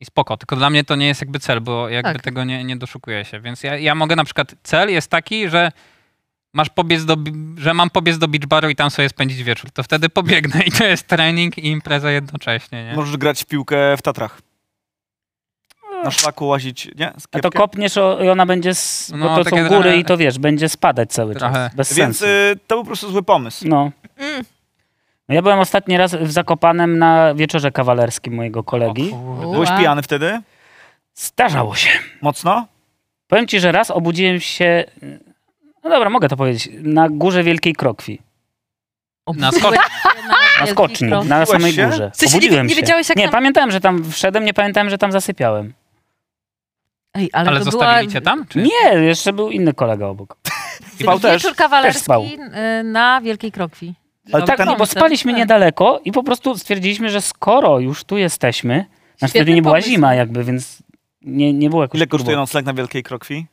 I spoko, tylko dla mnie to nie jest jakby cel, bo jakby
Tak.
tego nie, nie doszukuję się. Więc ja, ja mogę na przykład, cel jest taki, że masz pobiec do, bi- że mam pobiec do beach baru i tam sobie spędzić wieczór. To wtedy pobiegnę i to jest trening i impreza jednocześnie, nie?
Możesz grać w piłkę w Tatrach.
Eee.
Na szlaku łazić, nie? Z
A to
kiepkiem.
kopniesz o, i ona będzie, s-
No,
bo to
takie
są góry
trochę-
i to wiesz, będzie spadać cały
Trochę.
czas. Bez
Więc
sensu.
y, to był po prostu zły pomysł.
No.
Mm.
No Ja byłem ostatni raz w Zakopanem na wieczorze kawalerskim mojego kolegi.
O kurde.
Byłeś
Ła.
pijany wtedy?
Zdarzało się.
Mocno?
Powiem ci, że raz obudziłem się, No dobra, mogę to powiedzieć. Na górze Wielkiej Krokwi.
Na skoczniach.
Na skoczni,
Wielkiej
na
Obudziłeś
samej
się?
górze.
W sensie nie-
Obudziłem
nie
się.
wiedziałeś, jak
Nie,
tam-
pamiętałem, że tam wszedłem, nie pamiętałem, że tam zasypiałem.
[laughs] Ej, ale,
Ale
to
zostawili
była...
cię tak? tam? Czy?
Nie, jeszcze był inny kolega obok.
Spał też?
Wieczór
Też spał.
kawalerski y, na Wielkiej Krokwi.
Ale
Dobra,
ten-
No bo
pomysł.
spaliśmy
Tak.
niedaleko i po prostu stwierdziliśmy, że skoro już tu jesteśmy, znaczy
Świetny
wtedy nie była
pomysł.
zima jakby, więc nie, nie było jakoś...
Ile kosztuje
było.
nocleg na Wielkiej Krokwi?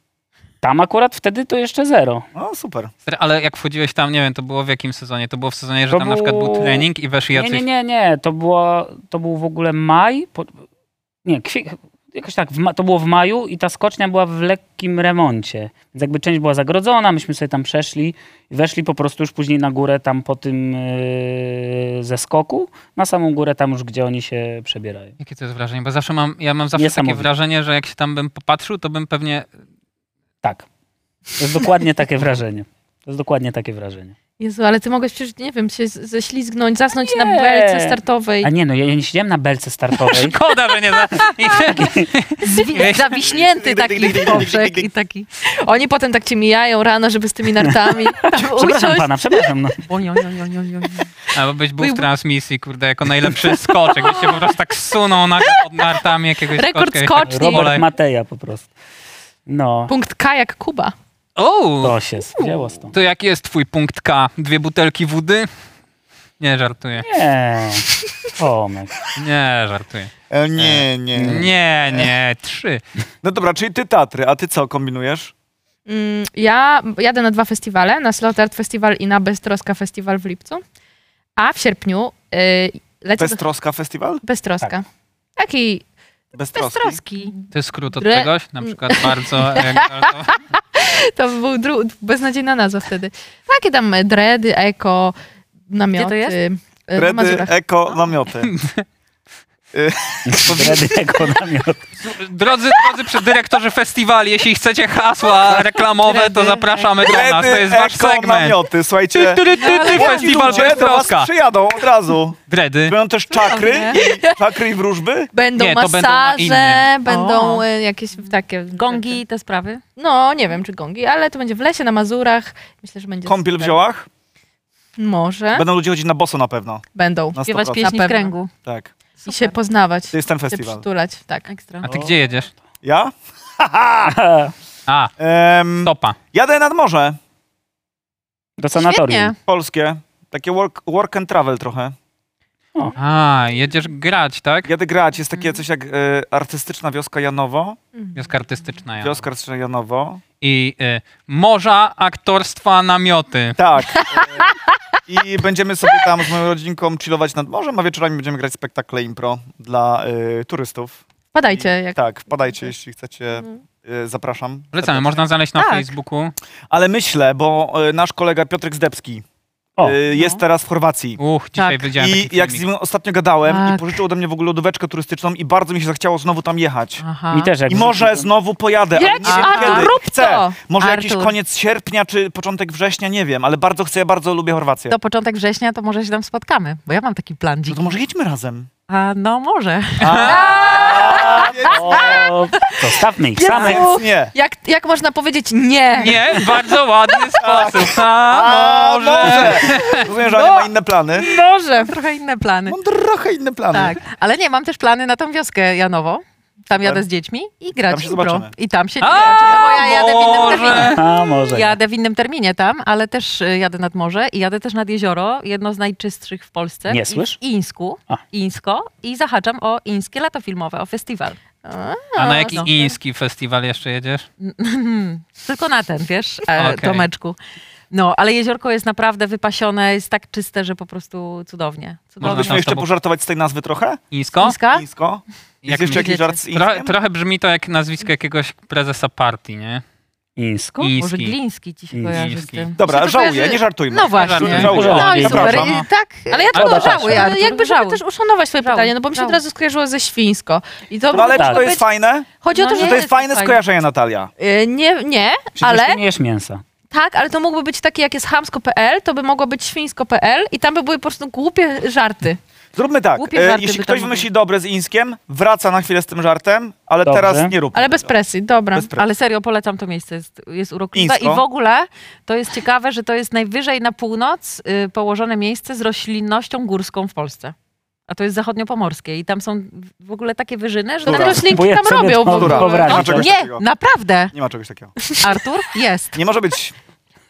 Tam akurat wtedy to jeszcze zero.
No super.
Ale jak wchodziłeś tam, nie wiem, to było w jakim sezonie? To było w sezonie, że
To
tam na przykład był
było-
trening i weszli
Nie,
jacyś...
nie, nie, nie, to, było, to był w ogóle maj, po, nie, kwi, jakoś tak, w ma, to było w maju i ta skocznia była w lekkim remoncie, więc jakby część była zagrodzona, myśmy sobie tam przeszli i weszli po prostu już później na górę tam po tym yy, zeskoku, na samą górę tam już, gdzie oni się przebierają.
Jakie to jest wrażenie? Bo zawsze mam, ja mam zawsze takie
Niesamowite.
wrażenie, że jak się tam bym popatrzył, to bym pewnie... [laughs]
Tak, to jest dokładnie takie wrażenie. To jest dokładnie takie wrażenie.
Jezu, ale ty mogłeś przecież, nie wiem, się z- ześlizgnąć, zasnąć na
Nie.
belce startowej.
A nie, no ja, ja nie siedziałem na belce startowej.
Szkoda, że nie za...
[laughs]
Zwi- zawiśnięty taki poprzek i taki...
Oni potem tak cię mijają rano, żeby z tymi
[laughs]
nartami
Przepraszam
usiąść.
pana,
[laughs]
przepraszam. No.
Oj, oj, oj, oj, oj, oj.
Albo być był w transmisji, kurde, jako najlepszy skoczek, gdzie się po prostu tak sunął nagle pod nartami jakiegoś
Rekord
skoczka i
skoczni.
Tak,
Robert
olej.
Mateja po prostu. No,
Punkt K jak Kuba.
O,
to się wzięło stąd.
to jaki jest twój punkt K? Dwie butelki wody? Nie, żartuję.
Nie. Tomek.
Nie, żartuję.
E, nie, nie.
Nie, nie, trzy.
No dobra, czyli ty Tatry, a ty co kombinujesz?
Mm, Ja jadę na dwa festiwale, na Slot Art Festival i na Beztroska Festival w lipcu. A w sierpniu y, lecę do...
Beztroska festiwal?
Beztroska.
Tak.
Taki
Beztroski.
Beztroski.
To jest skrót od
Dre-
czegoś? Na przykład bardzo... Jak,
To był dru- beznadziejna nazwa wtedy. Takie tam e, dredy, eko, namioty.
jest?
e, Na
Redy,
Mazurach.
eko,
[laughs]
namioty.
Wtedy jako namiot.
Drodzy, drodzy przy- dyrektorzy festiwali, jeśli chcecie hasła reklamowe, to zapraszamy do nas. To jest
Redy,
wasz
eko,
segment.
namioty.
Ty,
Słuchajcie,
ty, ty, ty, festiwal
ludzie do was
Beztroska.
przyjadą od razu.
Dredy.
Będą też czakry, i- czakry i wróżby.
Będą
Nie, to będą na
masaże,
innym.
będą
O.
e, jakieś takie...
Tak,
Gongi i te sprawy.
No, nie wiem czy gongi, ale to będzie w lesie, na Mazurach. Myślę, że będzie...
Kąpiel w
super.
ziołach.
Może.
Będą ludzie chodzić na boso na pewno.
Będą.
Na
Śpiewać
100%.
pieśni
Na pewno.
w kręgu.
Tak.
I
Super.
się poznawać.
To jest ten
Się
festiwal.
przytulać, tak.
Ekstra.
A ty gdzie jedziesz?
Ja?
A,
Em,
stopa.
jadę nad morze
Do sanatorium.
Świetnie.
polskie. Takie work, work and travel trochę.
A, jedziesz grać, tak?
Jadę grać. Jest takie coś jak e, artystyczna wioska Janowo.
Wioska artystyczna. Ja.
Wioska artystyczna Janowo.
I y, morza, aktorstwa, namioty.
Tak. E, I będziemy sobie tam z moją rodzinką chillować nad morzem, a wieczorami będziemy grać spektakle impro dla e, turystów.
Wpadajcie.
I,
Jak...
Tak, wpadajcie, jeśli chcecie. E, zapraszam.
Polecamy,
serdecznie.
można znaleźć na
Tak.
Facebooku.
Ale myślę, bo e, nasz kolega Piotrek Zdebski
O,
e, jest teraz w Chorwacji.
Uch, dzisiaj
Tak.
widziałem
I
taki
jak z
filmik.
nim ostatnio gadałem i
Tak.
pożyczył ode mnie w ogóle lodóweczkę turystyczną i bardzo mi się zachciało znowu tam jechać.
Aha.
mi też jak
I może znowu pojadę, ale
Jedź,
nie wiem
Artur,
kiedy.
rób
Chcę.
to!
Może jakiś
Artur.
koniec sierpnia czy początek września, nie wiem, ale bardzo chcę, ja bardzo lubię Chorwację.
Do początek września to może się tam spotkamy, bo ja mam taki plan
No
dziki.
to może jedźmy razem.
A no może.
O, zostawmy ich samych.
Więc nie.
Jak, jak można powiedzieć nie?
Nie, bardzo [laughs] ładny sposób. Tak. A,
A
może.
może. Rozumiem, że Ania ma inne plany.
Może.
Trochę inne plany.
Mam trochę inne plany.
Tak, ale nie, mam też plany na tą wioskę Janowo. Tam jadę z dziećmi i grać
Tak. Tam się
impro.
zobaczymy.
I tam się nie
A,
wiem, czy- bo ja jadę w innym terminie.
może.
A może.
Jadę w innym terminie tam, ale też y, jadę nad morze i jadę też nad jezioro, jedno z najczystszych w Polsce.
Nie
I-
słysz?
I Ińsku,
A.
Ińsko i zahaczam o Ińskie Lato Filmowe, o festiwal.
A na jaki
no.
iński festiwal jeszcze jedziesz?
Tylko na ten, wiesz, e,
Okej.
Tomeczku. No, ale jeziorko jest naprawdę wypasione, jest tak czyste, że po prostu cudownie. cudownie.
Można
Byśmy jeszcze
Znowu.
pożartować z tej nazwy trochę?
Ińsko?
Ińska?
Nisko. Jest
Jak
jeszcze jakiś
myślicie?
żart z
Trochę,
Inskiem?
trochę brzmi to jak nazwisko jakiegoś prezesa partii, nie?
Ińsko?
Może
Iński.
Gliński ci się
Iński.
kojarzy z tym.
Dobra,
Się to
żałuję,
kojarzy-
nie żartujmy.
No właśnie.
Żartuję.
Żałuję.
No i super.
Zapraszam.
I tak,
Ale ja
Ale
to
zapraszam.
żałuję, ale jakby
Żałuj.
żałuj. też uszanować swoje
Żałuj.
pytanie, no bo mi się od
Żałuj.
razu skojarzyło ze świńsko. I to,
No ale czy
Tak.
to jest fajne?
Chodzi o to,
No
Czy
że
to
Nie,
jest
jest
fajne
fajne.
skojarzenie, Natalia?
y, nie, nie,
Przecież
ale
ty nie jesz mięsa.
tak, ale to mógłby być takie, jak jest hamsko.pl, to by mogło być świńsko.pl i tam by były po prostu głupie żarty.
Zróbmy tak.
Głupie żarty
jeśli
by
ktoś
tam
wymyśli dobre z Inskiem, wraca na chwilę z tym żartem, ale
Dobrze.
teraz nie rób.
Ale bez presji, dobra.
Bez pre-
Ale serio, polecam to miejsce, jest, jest urokliwe.
Insko.
I w ogóle to jest ciekawe, że to jest najwyżej na północ y, położone miejsce z roślinnością górską w Polsce. A to jest zachodniopomorskie i tam są w ogóle takie wyżyny, że...
Te
Dobra.
roślinki
Próbuję
tam
sobie
robią w
to
ogóle.
wyobrazić.
Dlaczego? Czegoś
Nie,
takiego.
naprawdę,
Nie ma czegoś takiego.
Artur, jest.
Nie może być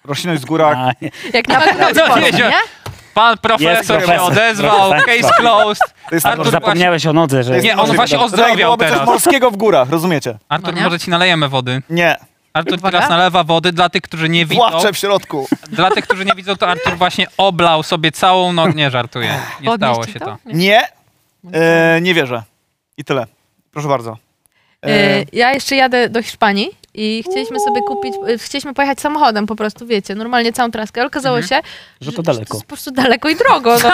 roślinność z
tak?
góra,
A, nie.
Jak na
No,
pewno
nie, nie.
Nie?
Pan profesor się
profesor.
odezwał,
Profesor.
case closed.
to jest
Artur,
Artur,
Zapomniałeś o nodze, że...
tak? Nie, on właśnie
To tak
ozdrawiał
byłoby coś
teraz.
morskiego w górach, rozumiecie?
Artur,
No nie?
może ci nalejemy wody.
Nie,
Artur
Uwaga.
teraz nalewa wody dla tych, którzy nie widzą.
płacze w środku.
Dla tych, którzy nie widzą, to Artur właśnie oblał sobie całą noc. Nie żartuję. Nie
Podnieść
stało
ci
się to.
Nie, e, nie wierzę. I tyle. Proszę bardzo. E,
Y, Ja jeszcze jadę do Hiszpanii i chcieliśmy sobie kupić, y, chcieliśmy pojechać samochodem po prostu, wiecie, normalnie całą traskę, ale okazało się,
Że to daleko.
to jest po prostu daleko i drogo. No.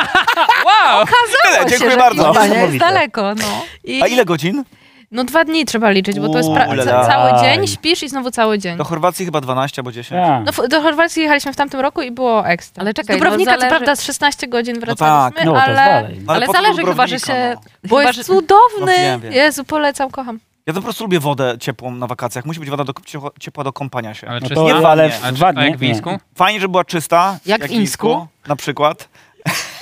Wow!
tyle,
się,
dziękuję
że
bardzo.
Hiszpania jest
Niesamowite.
daleko, no.
I,
A ile godzin?
No dwa dni trzeba liczyć, bo to jest pra-
Ulala.
ca- cały dzień, śpisz i znowu cały dzień.
Do Chorwacji chyba 12 albo 10.
Hmm.
A.
No, w- do Chorwacji jechaliśmy w tamtym roku i było ekstra.
Ale czekaj,
Z Dubrownika
no
co
zależy-
prawda z 16 godzin
tak,
wracaliśmy,
No, to jest
ale...
dalej.
Ale
po co do
zależy chyba, że
Dubrownika,
się...
no?
Bo
chyba,
jest
że...
cudowny!
No wiem, wiem.
Jezu, polecam, kocham.
Ja to po prostu lubię wodę ciepłą na wakacjach. Musi być woda do, ciepła- ciepła do kąpania się.
Ale
No
czy
to,
nie
jest
ale
ładnie,
w
ale
dwa dni.
jak w
nie.
Wińsku?
Fajnie, żeby była czysta.
Jak w Insku.
Na przykład.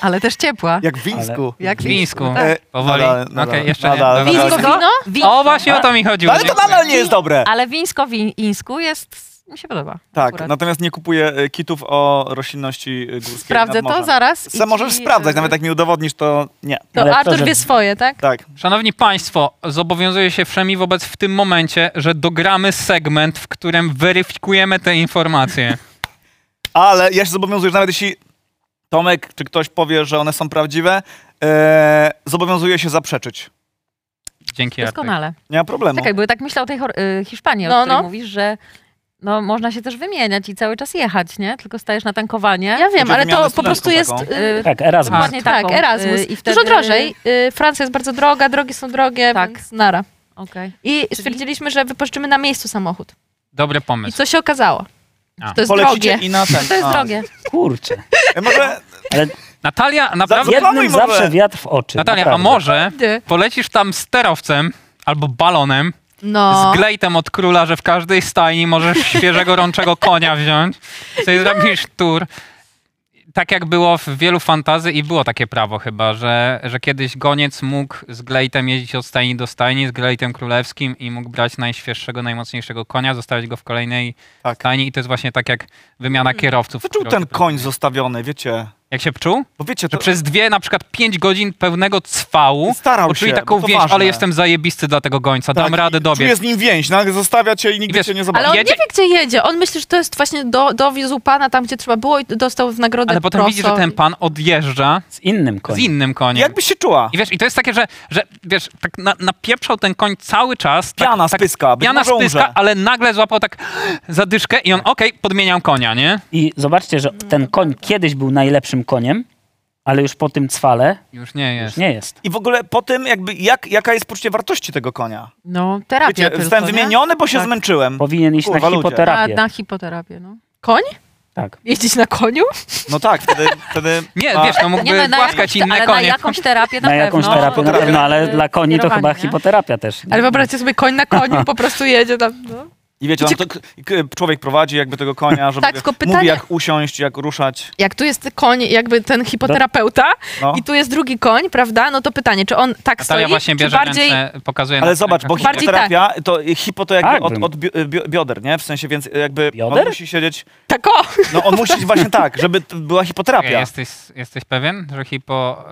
Ale też ciepła.
Jak w Insku.
Jak
W Wińsku.
Tak.
E,
Powoli.
nadal,
Okej,
nadal,
jeszcze
nadal,
nie.
nadal.
Wińsko wino?
Wińsko.
O, właśnie o to mi chodziło.
Ale to
Dziękuję.
nadal nie jest dobre.
Ale wińsko w Insku jest... Mi się podoba.
Tak,
akurat.
natomiast nie kupuję e, kitów o roślinności e, górskiej.
Sprawdzę
nad morzem.
to zaraz. i
Se możesz
ci,
sprawdzać,
e,
nawet jak mi udowodnisz, to nie.
To
Ale to,
Artur
że-
wie swoje, tak?
Tak.
Szanowni Państwo, zobowiązuję się wszemi wobec w tym momencie, że dogramy segment, w którym weryfikujemy te informacje.
Ale ja się zobowiązuję, że nawet jeśli Tomek czy ktoś powie, że one są prawdziwe, e, zobowiązuję się zaprzeczyć.
Dzięki, Artur.
Doskonale.
Nie ma problemu.
Czekaj, bo ja tak myślę o tej Chor- y, Hiszpanii,
No,
o której
no.
mówisz, że no, można się też wymieniać i cały czas jechać, nie? Tylko stajesz na tankowanie.
Ja wiem,
Będzie
ale
wymiana
to po prostu jest...
studentów
y,
Y,
Tak, Erasmus.
Dokładnie
Tak,
taką.
Erasmus.
Y, i wtedy-
Dużo drożej. Y, Francja jest bardzo droga, drogi są drogie,
Tak.
tak. więc nara.
Okej.
I stwierdziliśmy, że wypożyczymy na miejscu samochód.
Dobry
I
pomysł.
co się okazało?
A.
Że To jest
Polecicie
drogie.
i na ten.
[laughs] To jest
A.
drogie.
Kurczę.
E, Może
Natalia, naprawdę.
Zaplanuj
Jednym
może.
zawsze wiatr w oczy.
Natalia, a
naprawdę.
może
Ty.
polecisz tam sterowcem albo balonem
No.
z glejtem od króla, że w każdej stajni możesz świeżego rączego konia wziąć. Sobie zrobisz tour. Tak jak było w wielu fantazji i było takie prawo chyba, że, że kiedyś goniec mógł z glejtem jeździć od stajni do stajni, z glejtem królewskim i mógł brać najświeższego, najmocniejszego konia, zostawić go w kolejnej
Tak.
stajni i to jest właśnie tak jak wymiana kierowców.
co czuł
którą-
ten koń zostawiony, wiecie?
Jak się czuł?
Bo wiecie,
Że
to
przez dwie, na przykład pięć godzin pełnego cwału
starał
poczuli
się,
taką
bo to
więź,
ważne.
ale jestem zajebisty dla tego gońca, dam
tak,
radę
i Czuję
dobiec.
z nim więź, no, zostawia cię i nigdy
wiesz,
cię nie
Ale
zobaczy.
on
jedzie-
nie wie, gdzie jedzie. On myśli, że to jest właśnie do, dowiózł pana tam, gdzie trzeba było i dostał w nagrodę
Ale potem
prosto.
widzi, że ten pan odjeżdża
Z innym koniem.
z innym koniem.
Jakbyś się czuła?
I wiesz, i to jest takie, że, że wiesz, tak na, napieprzał ten koń cały czas. Tak,
Piana z
tak,
pyska, być
Piana
może umrze. Tak.
spyska, ale nagle złapał tak zadyszkę i on, okej, podmieniam konia, nie?
I zobaczcie, że ten koń kiedyś był najlepszym koniem, ale już po tym cwale
Już nie jest.
nie jest.
I w ogóle po tym, jakby, jak, jaka jest poczucie wartości tego konia?
No, terapia
Tak,
Wiecie,
tylko,
zostałem
nie?
wymieniony, bo się
Tak.
zmęczyłem.
Mhm. Powinien iść
Kurwa,
na
ludzie.
Na,
hipoterapię.
na hipoterapię, no.
Koń?
Tak.
Jeździć na koniu?
No tak, wtedy... wtedy
Nie,
ma-
wiesz, no mógłby
no, na,
głaskać
jakąś,
inne
ale na
konie.
jakąś terapię na,
Na jakąś
pewno.
terapię na pewno, no, ale
Y,
dla koni to chyba
kierowanie. No.
hipoterapia też.
Ale wyobraźcie sobie, koń na koniu po prostu jedzie tam. No.
I wiecie, on to, k- k- człowiek prowadzi jakby tego konia, żeby
Tak, tylko pytanie-
mówi jak usiąść, jak ruszać.
Jak tu jest koń, jakby ten hipoterapeuta
No.
i tu jest drugi koń, prawda? No to pytanie, czy on tak
Natalia
stoi,
właśnie
czy
bierze
bardziej...
ręce, pokazuje na
Ale zobacz, bo
rękach.
Bardziej
hipoterapia, to hipo to jakby
Tak,
od,
bym-
od bi- bi- bioder, nie? W sensie, więc jakby on
Bioder?
musi siedzieć,
Tak o!
no on musi [laughs] właśnie tak, żeby t- była hipoterapia.
Jesteś, jesteś pewien, że hipo...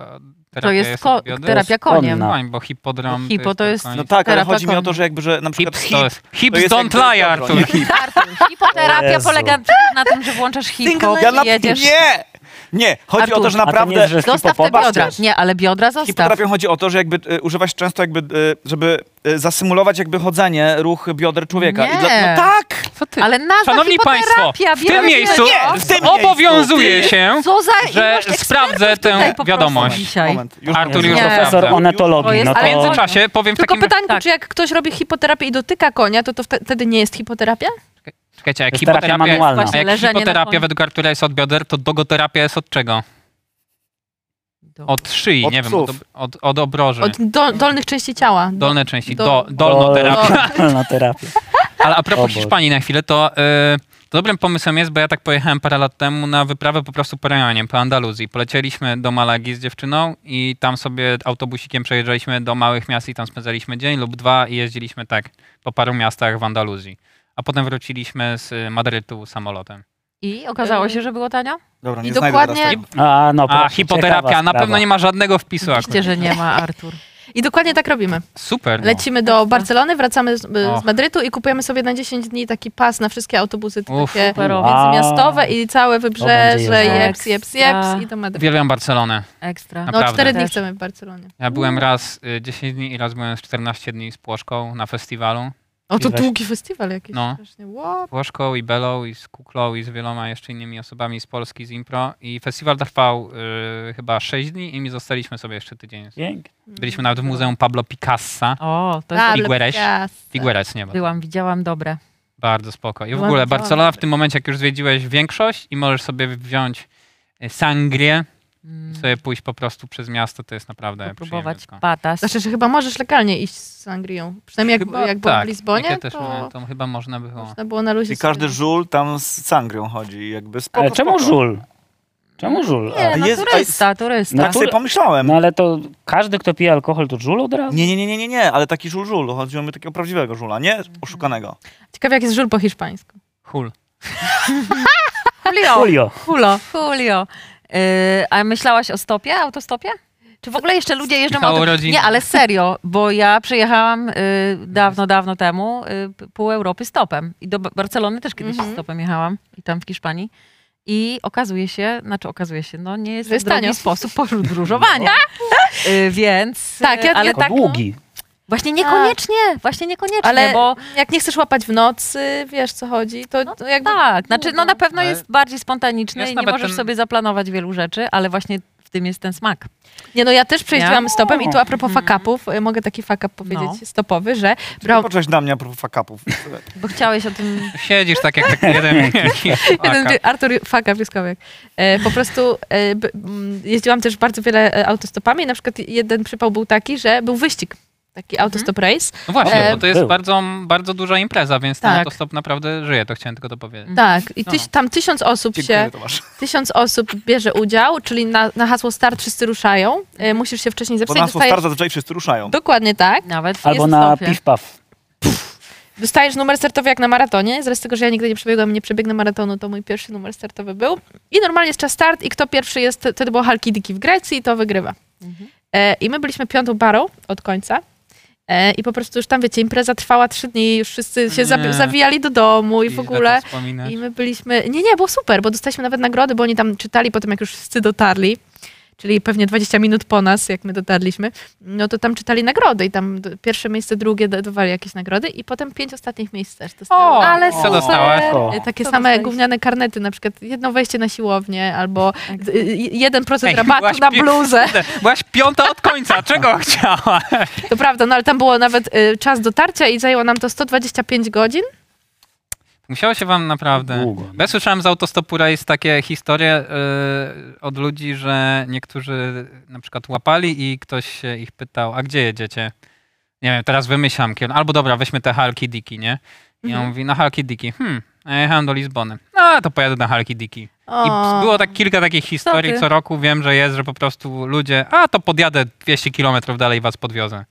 e,
To jest ko-
no.
To
terapia
jest
koniem.
konna.
Koń, bo hipodrom...
Bo hipo to
ten
jest-
koń.
No tak, ale
Terapia
chodzi mi o to,
koni.
że jakby, że na
no,
przykład
Hips
hip,
to jest. Hips
jest
don't
jakby
lie,
dobro,
Artur.
nie?
Artur, hipoterapia
Jezu.
polega na tym, że włączasz hipko
Ja na...
i jedziesz.
Nie! Nie, chodzi o to,
Artur,
że
A to nie
naprawdę...
jest, że jest
Zostaw te
hipopotamus?
biodra. Nie, ale biodra zostaw.
Hipoterapią chodzi o to, że jakby e, używać często jakby, e, żeby e, zasymulować jakby chodzenie, ruch bioder człowieka. I
Nie.
no tak!
Co ty?
Ale nazwa
Szanowni Państwo,
hipoterapia,
w
biorę
tym miejscu
biodra.
w tym miejscu.
obowiązuje się,
Co za
że
ilość
sprawdzę
ekspertów
tę
tutaj po
wiadomość.
prostu dzisiaj.
Moment, już
Artur
Jezu,
już
Nie.
Profesor
sprawdza.
To
onetologii,
jest-
no
A
to...
A w międzyczasie powiem w
Tylko
takim...
pytanie,
tak.
czy jak ktoś robi hipoterapię i dotyka konia, to, to wte- wtedy nie jest hipoterapia?
Czekajcie, jak
To jest terapia
hipoterapia,
manualna.
a jak
Leżenie na
hipoterapia
koniu.
według Artura jest od bioder, to dogoterapia jest od czego? Od szyi,
Od
nie wiem,
psów.
od, ob- od, od obroży.
Od do, dolnych części ciała. Do,
Dolne części,
do-
do, dolno terapii.
Dolna terapia.
Ale a propos
O Boże.
Hiszpanii na chwilę, to, y, to dobrym pomysłem jest, bo ja tak pojechałem parę lat temu na wyprawę po prostu po rejonie, po Andaluzji. Polecieliśmy do Malagi z dziewczyną i tam sobie autobusikiem przejeżdżaliśmy do małych miast i tam spędzaliśmy dzień lub dwa i jeździliśmy tak po paru miastach w Andaluzji. A potem wróciliśmy z y, Madrytu samolotem.
I okazało się, że było tanio?
Dobra,
I
nie znajdę teraz
dokładnie-
tego.
A, no,
A,
proszę, ciekawa
hipoterapia, na
sprawa.
pewno nie ma żadnego wpisu
Oczywiście,
akurat.
że nie ma, Artur.
I dokładnie tak robimy.
Super. no.
Lecimy do Barcelony, wracamy z, z
Och.
Madrytu i kupujemy sobie na 10 dni taki pas na wszystkie autobusy te
Uff.
takie
Superowo.
międzymiastowe i całe
To będzie
wybrzeże,
jeżdża.
jeps, jeps, jeps
Ekstra.
i do Madrytu.
Uwielbiam Barcelonę.
Ekstra.
No,
Naprawdę.
cztery dni
Też.
chcemy w Barcelonie.
Ja byłem raz y, 10 dni i raz byłem z 14 dni z Płoszką na festiwalu.
O, to
Weź.
długi festiwal jakiś.
No.
Strasznie. Wow.
Płoszką i Belą i z Kuklą i z wieloma jeszcze innymi osobami z Polski, z Impro. I festiwal trwał y, chyba 6 dni i mi zostaliśmy sobie jeszcze tydzień.
Pięknie.
Byliśmy nawet w Muzeum Pablo Picassa.
O, to
Tak.
jest
Pablo
Figueres.
Picasso.
Figueres nie ma.
Byłam, widziałam dobre.
Bardzo spoko. I w
Byłam
ogóle
widziałam.
Barcelona w tym momencie, jak już zwiedziłeś większość i możesz sobie wziąć y, sangrię,
Mhm.
Mm,
sobie pójść po prostu przez miasto, to jest naprawdę
Próbować
przyjemne. tak.
patas.
Znaczy, że chyba możesz legalnie iść z sangrią. Przynajmniej jak,
Chyba
jak było
tak,
w Lizbonie,
jak ja też
to
miałem, to chyba można było.
można było na luzie
I każdy
sobie-
żul tam z sangrią chodzi. i Jakby spoko,
Ale E, czemu
spoko.
żul? Czemu żul? A,
Nie, no,
Jest-
turysta, turysta.
No
Tak sobie pomyślałem.
No ale to każdy, kto pije alkohol, to żul od razu?
Nie, nie, nie, nie, nie, nie, ale taki żul żul. Chodziło mi o takiego prawdziwego żula, nie oszukanego.
Ciekawe, jak jest żul po hiszpańsku.
Hul.
Julio,
Julio.
Julio, Julio. Yy, a myślałaś o stopie, autostopie? Czy w ogóle jeszcze ludzie jeżdżą
Michał
autem?
urodziny.
Nie, ale serio, bo ja przejechałam y, dawno, dawno temu y, p- pół Europy stopem. I do Ba- Barcelony też kiedyś
Mhm.
stopem jechałam i tam w Hiszpanii. I okazuje się, znaczy okazuje się, no nie jest
Że
to
jest tanio.
drugi sposób
[laughs]
podróżowania. Y, więc,
Tak, ja-
y, ale
ja-
Tylko
tak, no,
długi.
właśnie niekoniecznie, właśnie niekoniecznie,
Ale
bo
jak nie chcesz łapać w nocy, wiesz co chodzi, to, to No jakby
tak, znaczy no na pewno
Ale-
jest bardziej spontaniczny
Jest
i nie
nawet
możesz
ten-
sobie zaplanować wielu rzeczy, ale właśnie w tym jest ten smak.
Nie, no ja też przejeździłam
Ja?
stopem i tu a propos fakapów, y, mogę taki fakap powiedzieć stopowy, że
Bra...
brał
Poczekaj na mnie a propos fakapów.
[laughs]
Bo chciałeś o tym
[laughs] Siedzisz tak jak taki jeden [laughs] jakiś
[laughs] jeden,
paka.
Artur Fakap Wieskowiak. E, po prostu e, b, m, jeździłam też bardzo wiele e, autostopami i na przykład jeden przypał był taki, że był wyścig, taki autostop race.
No właśnie,
E,
bo to jest
Był.
bardzo, bardzo duża impreza, więc ten
Tak.
autostop naprawdę żyje, to chciałem tylko dopowiedzieć.
Tak, i
No.
tyś, tam tysiąc osób
Dziękuję,
się,
Tomasz.
tysiąc osób bierze udział, czyli na, na hasło start wszyscy ruszają, e, musisz się wcześniej
Bo
zapisać.
nas
dostajesz-
starza zazwyczaj wszyscy ruszają.
Dokładnie tak.
nawet w
Albo
jest
na
stopie.
piw-paw.
Dostajesz numer startowy jak na maratonie, z racji tego, że ja nigdy nie przebiegłam i nie przebiegnę maratonu, to mój pierwszy numer startowy był. I normalnie jest czas start i kto pierwszy jest, to- wtedy było Halkidiki w Grecji i to wygrywa. E, I my byliśmy piątą parą od końca. E, I po prostu już tam, wiecie, impreza trwała trzy dni, już wszyscy się zabi-
Nie. tak
zawijali do domu i w
źle to
ogóle.
wspominać.
I my byliśmy, nie, nie, było super, bo dostaliśmy nawet nagrody, bo oni tam czytali po tym, jak już wszyscy dotarli, czyli pewnie 20 minut po nas, jak my dotarliśmy, no to tam czytali nagrody i tam d- pierwsze miejsce, drugie d- dawali jakieś nagrody i potem pięć ostatnich miejsc też dostało.
O,
Ale
co
super!
dostałaś?
O.
E, Takie
Co
same
dostaliście?
gówniane karnety, na przykład jedno wejście na siłownię albo d- y- 1%
Ej,
rabatu
byłaś
na
pi-
bluzę.
Byłaś piąta od
[laughs]
końca, czego chciała?
To prawda, no ale tam było nawet y, czas dotarcia i zajęło nam to 125 godzin.
Musiało się wam naprawdę...
Długo.
Bo Ja słyszałem z Autostopu Race takie historie y, od ludzi, że niektórzy na przykład łapali i ktoś się ich pytał, a gdzie jedziecie? Nie wiem, teraz wymyślam kierunek. Albo dobra, weźmy te Halki Diki, nie? I
Mhm.
on mówi, na Halki Diki. Hmm, a ja jechałem do Lizbony. No, to pojadę na Halki Diki. I
O.
było tak kilka takich historii
ty?
co roku, wiem, że jest, że po prostu ludzie, a to podjadę 200 kilometrów dalej i was podwiozę.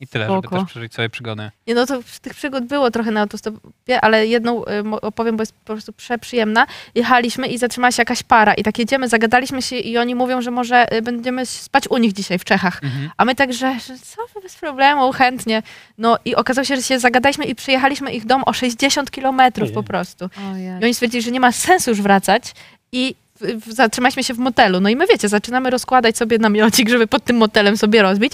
I tyle, żeby
Spoko.
też przeżyć sobie przygodę.
Nie, no to w- tych przygód było trochę na autostopie, ale jedną y, mo- opowiem, bo jest po prostu przeprzyjemna. Jechaliśmy i zatrzymała się jakaś para i tak jedziemy, zagadaliśmy się i oni mówią, że może y, będziemy spać u nich dzisiaj w Czechach. A my także, że co, wy, bez problemu, chętnie. No i okazało się, że się zagadaliśmy i przyjechaliśmy ich dom o 60 kilometrów po
Ojej.
prostu.
Ojej.
I oni stwierdzili, że nie ma sensu już wracać i w- w- zatrzymaliśmy się w motelu. No i my wiecie, zaczynamy rozkładać sobie namiocik, żeby pod tym motelem sobie rozbić.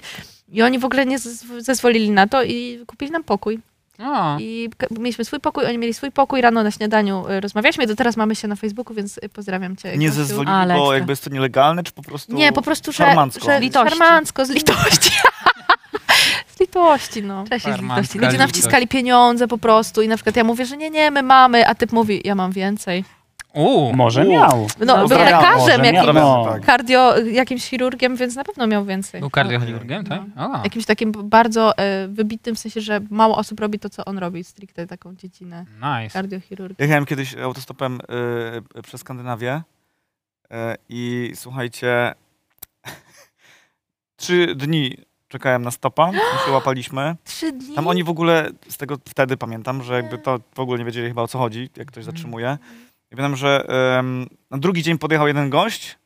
I oni w ogóle nie zezw- zezwolili na to i kupili nam pokój.
O,
I k- mieliśmy swój pokój, oni mieli swój pokój, rano na śniadaniu y, rozmawialiśmy, do teraz mamy się na Facebooku, więc y, pozdrawiam cię.
Nie
Gosiu.
zezwolili,
Ale
bo
ekstra.
jakby jest to nielegalne, czy po prostu...
Nie, po prostu, że,
Szarmancko.
że
Z litości.
szarmancko, z litości. [laughs] z litości, no.
Trzeba się z
Farmanka.
litości
Ludzie nam
tak.
nabrać.
Litość.
wciskali pieniądze po prostu i na przykład ja mówię, że nie, nie, my mamy, a typ mówi, ja mam więcej.
Uuu,
Może
U.
miał.
No, był
Pozdrawiamy,
lekarzem
może,
jakimś,
nie?
Pozdrawiamy,
No.
tak.
kardio, jakimś chirurgiem, więc na pewno miał więcej.
był kardiochirurgiem, tak? A.
Jakimś takim bardzo e, wybitnym, w sensie, że mało osób robi to, co on robi, stricte taką dziedzinę
Nice.
kardiochirurgii.
Jechałem kiedyś autostopem y, przez Skandynawię y, i słuchajcie, [laughs] trzy dni czekałem na stopa, my się łapaliśmy.
Trzy dni?
Tam oni w ogóle, z tego wtedy pamiętam, że jakby to w ogóle nie wiedzieli chyba o co chodzi, jak ktoś zatrzymuje. I pamiętam, że em, na drugi dzień podjechał jeden gość,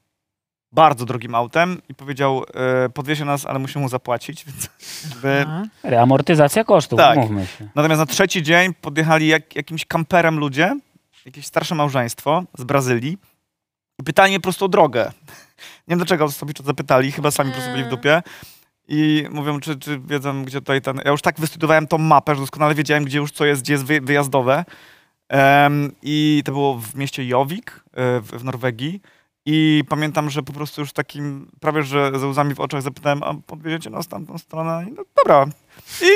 bardzo drogim autem i powiedział, e, podwiezie nas, ale musimy mu zapłacić, więc jakby
Aha.
Reamortyzacja kosztów,
Tak.
mówmy się.
Natomiast na trzeci dzień podjechali jak, jakimś kamperem ludzie, jakieś starsze małżeństwo z Brazylii i pytali mnie po prostu o drogę. [laughs] Nie wiem dlaczego sobie to zapytali, chyba sami po prostu byli w dupie. I mówią, czy, czy wiedzą, gdzie tutaj ten... Ja już tak wystudiowałem tą mapę, że doskonale wiedziałem, gdzie już co jest, gdzie jest wyj- wyjazdowe. Em, I to było w mieście Jowik e, w, w Norwegii. I pamiętam, że po prostu już takim, prawie że ze łzami w oczach zapytałem, a podwieziecie nas tamtą stronę? I no, dobra.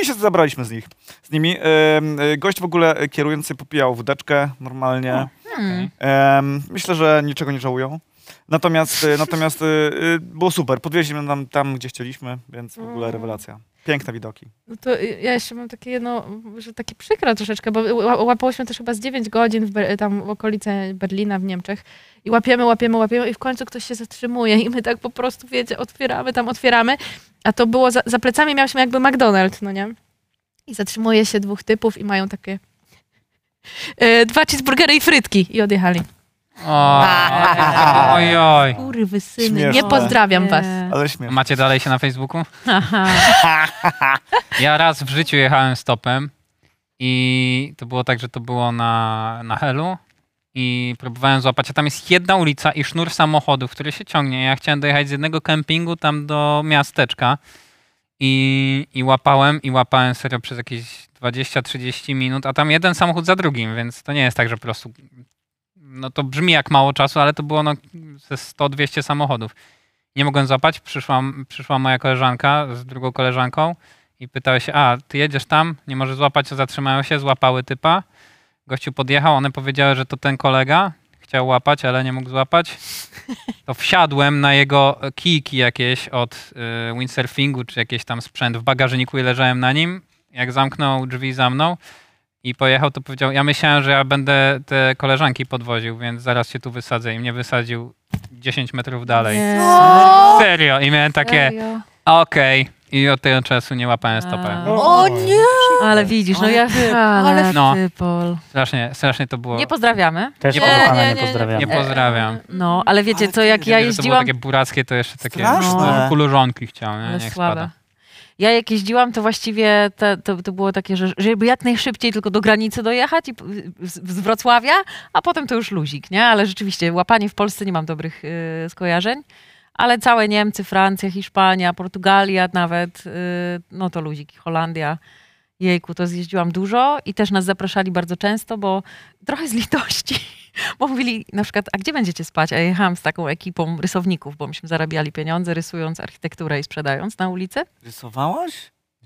I się zabraliśmy z nich z nimi. Em, y, Gość w ogóle y, kierujący popijał wódeczkę normalnie.
Hmm.
Em, Myślę, że niczego nie żałują. Natomiast, y, natomiast y, y, było super. Podwieźliśmy nam tam, gdzie chcieliśmy, więc w
Mm.
ogóle rewelacja. Piękne widoki.
No to ja jeszcze mam takie jedno, że takie przykre troszeczkę, bo ła- łapałyśmy też chyba z 9 godzin w Ber- tam w okolice Berlina w Niemczech i łapiemy, łapiemy, łapiemy i w końcu ktoś się zatrzymuje i my tak po prostu, wiecie, otwieramy tam, otwieramy, a to było, za, za plecami miałyśmy jakby McDonald's, no nie? I zatrzymuje się dwóch typów i mają takie e, dwa cheeseburgery i frytki i odjechali.
O, oj, oj.
Kurwy syny,
Śmieszne.
nie pozdrawiam
Nie.
was.
Ale śmieszne.
Macie dalej się na Facebooku?
Aha.
[laughs] Ja raz w życiu jechałem stopem i to było tak, że to było na, na Helu i próbowałem złapać, a tam jest jedna ulica i sznur samochodów, który się ciągnie. Ja chciałem dojechać z jednego kempingu tam do miasteczka i, i łapałem i łapałem serio przez jakieś 20-30 minut, a tam jeden samochód za drugim, więc to nie jest tak, że po prostu no to brzmi jak mało czasu, ale to było no ze 100-200 samochodów. Nie mogłem złapać, przyszła, przyszła moja koleżanka z drugą koleżanką i pytały się, a ty jedziesz tam, nie możesz złapać, to zatrzymają się, złapały typa. Gościu podjechał, one powiedziały, że to ten kolega chciał łapać, ale nie mógł złapać. To wsiadłem na jego kijki jakieś od y, windsurfingu, czy jakiś tam sprzęt w bagażniku i leżałem na nim. Jak zamknął drzwi za mną i pojechał, to powiedział, ja myślałem, że ja będę te koleżanki podwoził, więc zaraz się tu wysadzę i mnie wysadził 10 metrów dalej. Serio, i miałem takie,
E, Serio?
okej. I od tego czasu nie łapałem stopę.
O nie!
Ale widzisz, no ja ale
ale
No.
ty, Pol.
Strasznie, strasznie to było.
Nie pozdrawiamy.
Też
Nie,
kochana,
nie,
nie
nie, nie.
pozdrawiam.
Nie pozdrawiam.
No, ale wiecie
Ale
co,
ty,
jak
Gdyby
ja
to było
jeździłam...
takie burackie, to jeszcze takie
Straszne.
no, kulurzonki chciałem, nie?
Ale
Niech
słabe.
spada.
Ja jak jeździłam, to właściwie te, to, to było takie, że żeby jak najszybciej tylko do granicy dojechać i p- z, z Wrocławia, a potem to już luzik, nie? Ale rzeczywiście łapanie w Polsce nie mam dobrych y, skojarzeń, ale całe Niemcy, Francja, Hiszpania, Portugalia nawet, y, no to luzik, Holandia. Jejku, to zjeździłam dużo i też nas zapraszali bardzo często, bo trochę z litości, bo mówili na przykład, a gdzie będziecie spać? A ja jechałam z taką ekipą rysowników, bo myśmy zarabiali pieniądze rysując architekturę i sprzedając na ulicy.
Rysowałaś?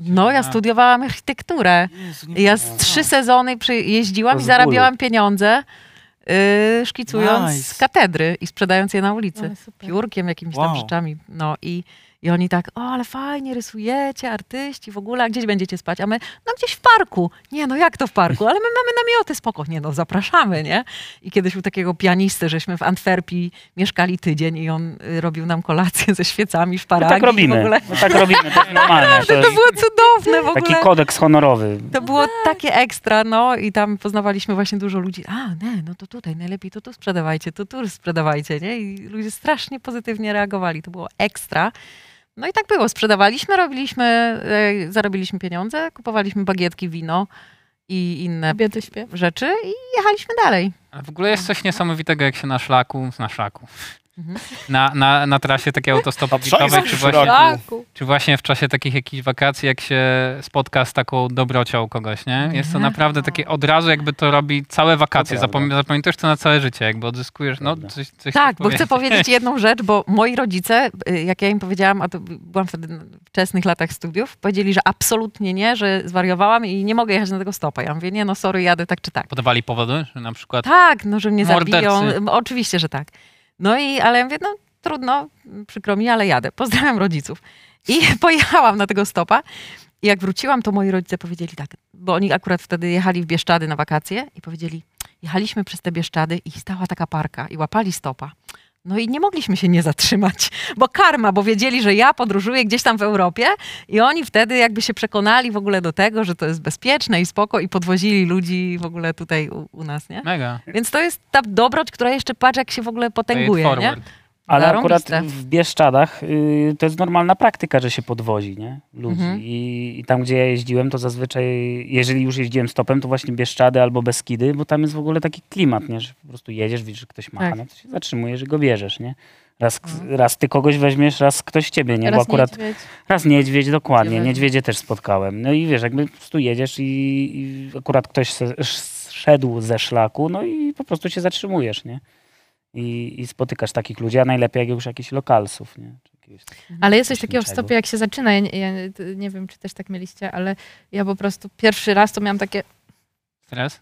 No, ja
A.
studiowałam architekturę.
Jezu, nie
Ja z
wiem.
trzy sezony przy- jeździłam
To
i
z
zarabiałam pieniądze, yy, szkicując
Nice.
katedry i sprzedając je na ulicy.
Ale No,
Tak.
super.
Piórkiem, jakimiś tam
Wow.
rzeczami. No i, i oni tak, o, ale fajnie rysujecie, artyści w ogóle, a gdzieś będziecie spać? A my, no gdzieś w parku. Nie, no jak to w parku? Ale my mamy namioty, spoko. Nie, no zapraszamy, nie? I kiedyś u takiego pianisty, żeśmy w Antwerpii mieszkali tydzień i on y, robił nam kolację ze świecami w
My
paragi.
tak
W
robimy,
ogóle.
my tak robimy, to jest
[laughs]
normalne. To
To
jest
było cudowne w ogóle.
taki kodeks honorowy.
To było takie ekstra, no i tam poznawaliśmy właśnie dużo ludzi. A, nie, no to tutaj najlepiej to tu sprzedawajcie, to tu sprzedawajcie, nie? I ludzie strasznie pozytywnie reagowali, to było ekstra. No i tak było, sprzedawaliśmy, robiliśmy, e, zarobiliśmy pieniądze, kupowaliśmy bagietki, wino i inne
Kobiety śpiew.
rzeczy i jechaliśmy dalej.
Ale w ogóle jest coś niesamowitego, jak się na szlaku, na szlaku,
Mhm.
[laughs] na, na, na trasie takiej autostopowikowej,
Obrzęzek
czy
w
właśnie,
szlaku.
Tak,
czy właśnie w czasie takich jakichś wakacji, jak się spotka z taką dobrocią kogoś, nie? Jest
Mhm.
to naprawdę takie od razu jakby to robi całe wakacje,
To
zapom-
prawda.
zapamiętasz to na całe życie, jakby odzyskujesz, no
Prawda.
coś, coś
Tak, bo
powiedzieć.
chcę powiedzieć jedną rzecz, bo moi rodzice, y, jak ja im powiedziałam, a to byłam wtedy na wczesnych latach studiów, powiedzieli, że absolutnie nie, że zwariowałam i nie mogę jechać na tego stopa. Ja mówię, nie no sorry, jadę tak czy tak.
Podawali powody, że na przykład
Tak, no że mnie
Mordercy.
zabiją. Oczywiście, że tak. No i, ale ja mówię, no trudno, przykro mi, ale jadę. Pozdrawiam rodziców. I [laughs] pojechałam na tego stopa. I jak wróciłam, to moi rodzice powiedzieli tak, bo oni akurat wtedy jechali w Bieszczady na wakacje i powiedzieli, jechaliśmy przez te Bieszczady i stała taka parka i łapali stopa. No i nie mogliśmy się nie zatrzymać, [laughs] bo karma, bo wiedzieli, że ja podróżuję gdzieś tam w Europie i oni wtedy jakby się przekonali w ogóle do tego, że to jest bezpieczne i spoko i podwozili ludzi w ogóle tutaj u, u nas, nie?
mega.
Więc to jest ta dobroć, która jeszcze patrz, jak się w ogóle
Pay it
potęguje, nie?
forward.
Ale akurat
Zarąbiste.
w Bieszczadach y, to jest normalna praktyka, że się podwozi nie? ludzi.
Mhm.
I, I tam, gdzie ja jeździłem, to zazwyczaj, jeżeli już jeździłem stopem, to właśnie Bieszczady albo Beskidy, bo tam jest w ogóle taki klimat, nie? że po prostu jedziesz, widzisz, że ktoś macha,
Tak. Mhm.
no to się zatrzymujesz i go bierzesz. Nie? Raz, raz ty kogoś weźmiesz, raz ktoś ciebie, nie?
Teraz
bo akurat
niedźwiedź.
Raz niedźwiedź, dokładnie.
Niedźwiedzie.
Niedźwiedzie też spotkałem. No i wiesz, jakby po prostu jedziesz i, i akurat ktoś se, sz- szedł ze szlaku, no i po prostu się zatrzymujesz, nie? I, I spotykasz takich ludzi, a najlepiej jak już jakichś lokalsów, nie? Czy jakiegoś takiego-
Ale jest coś takiego w
Niczego.
stopie, jak się zaczyna. Ja, nie- ja nie- ty- nie wiem, czy też tak mieliście, ale ja po prostu pierwszy raz to miałam takie, no,
Stres?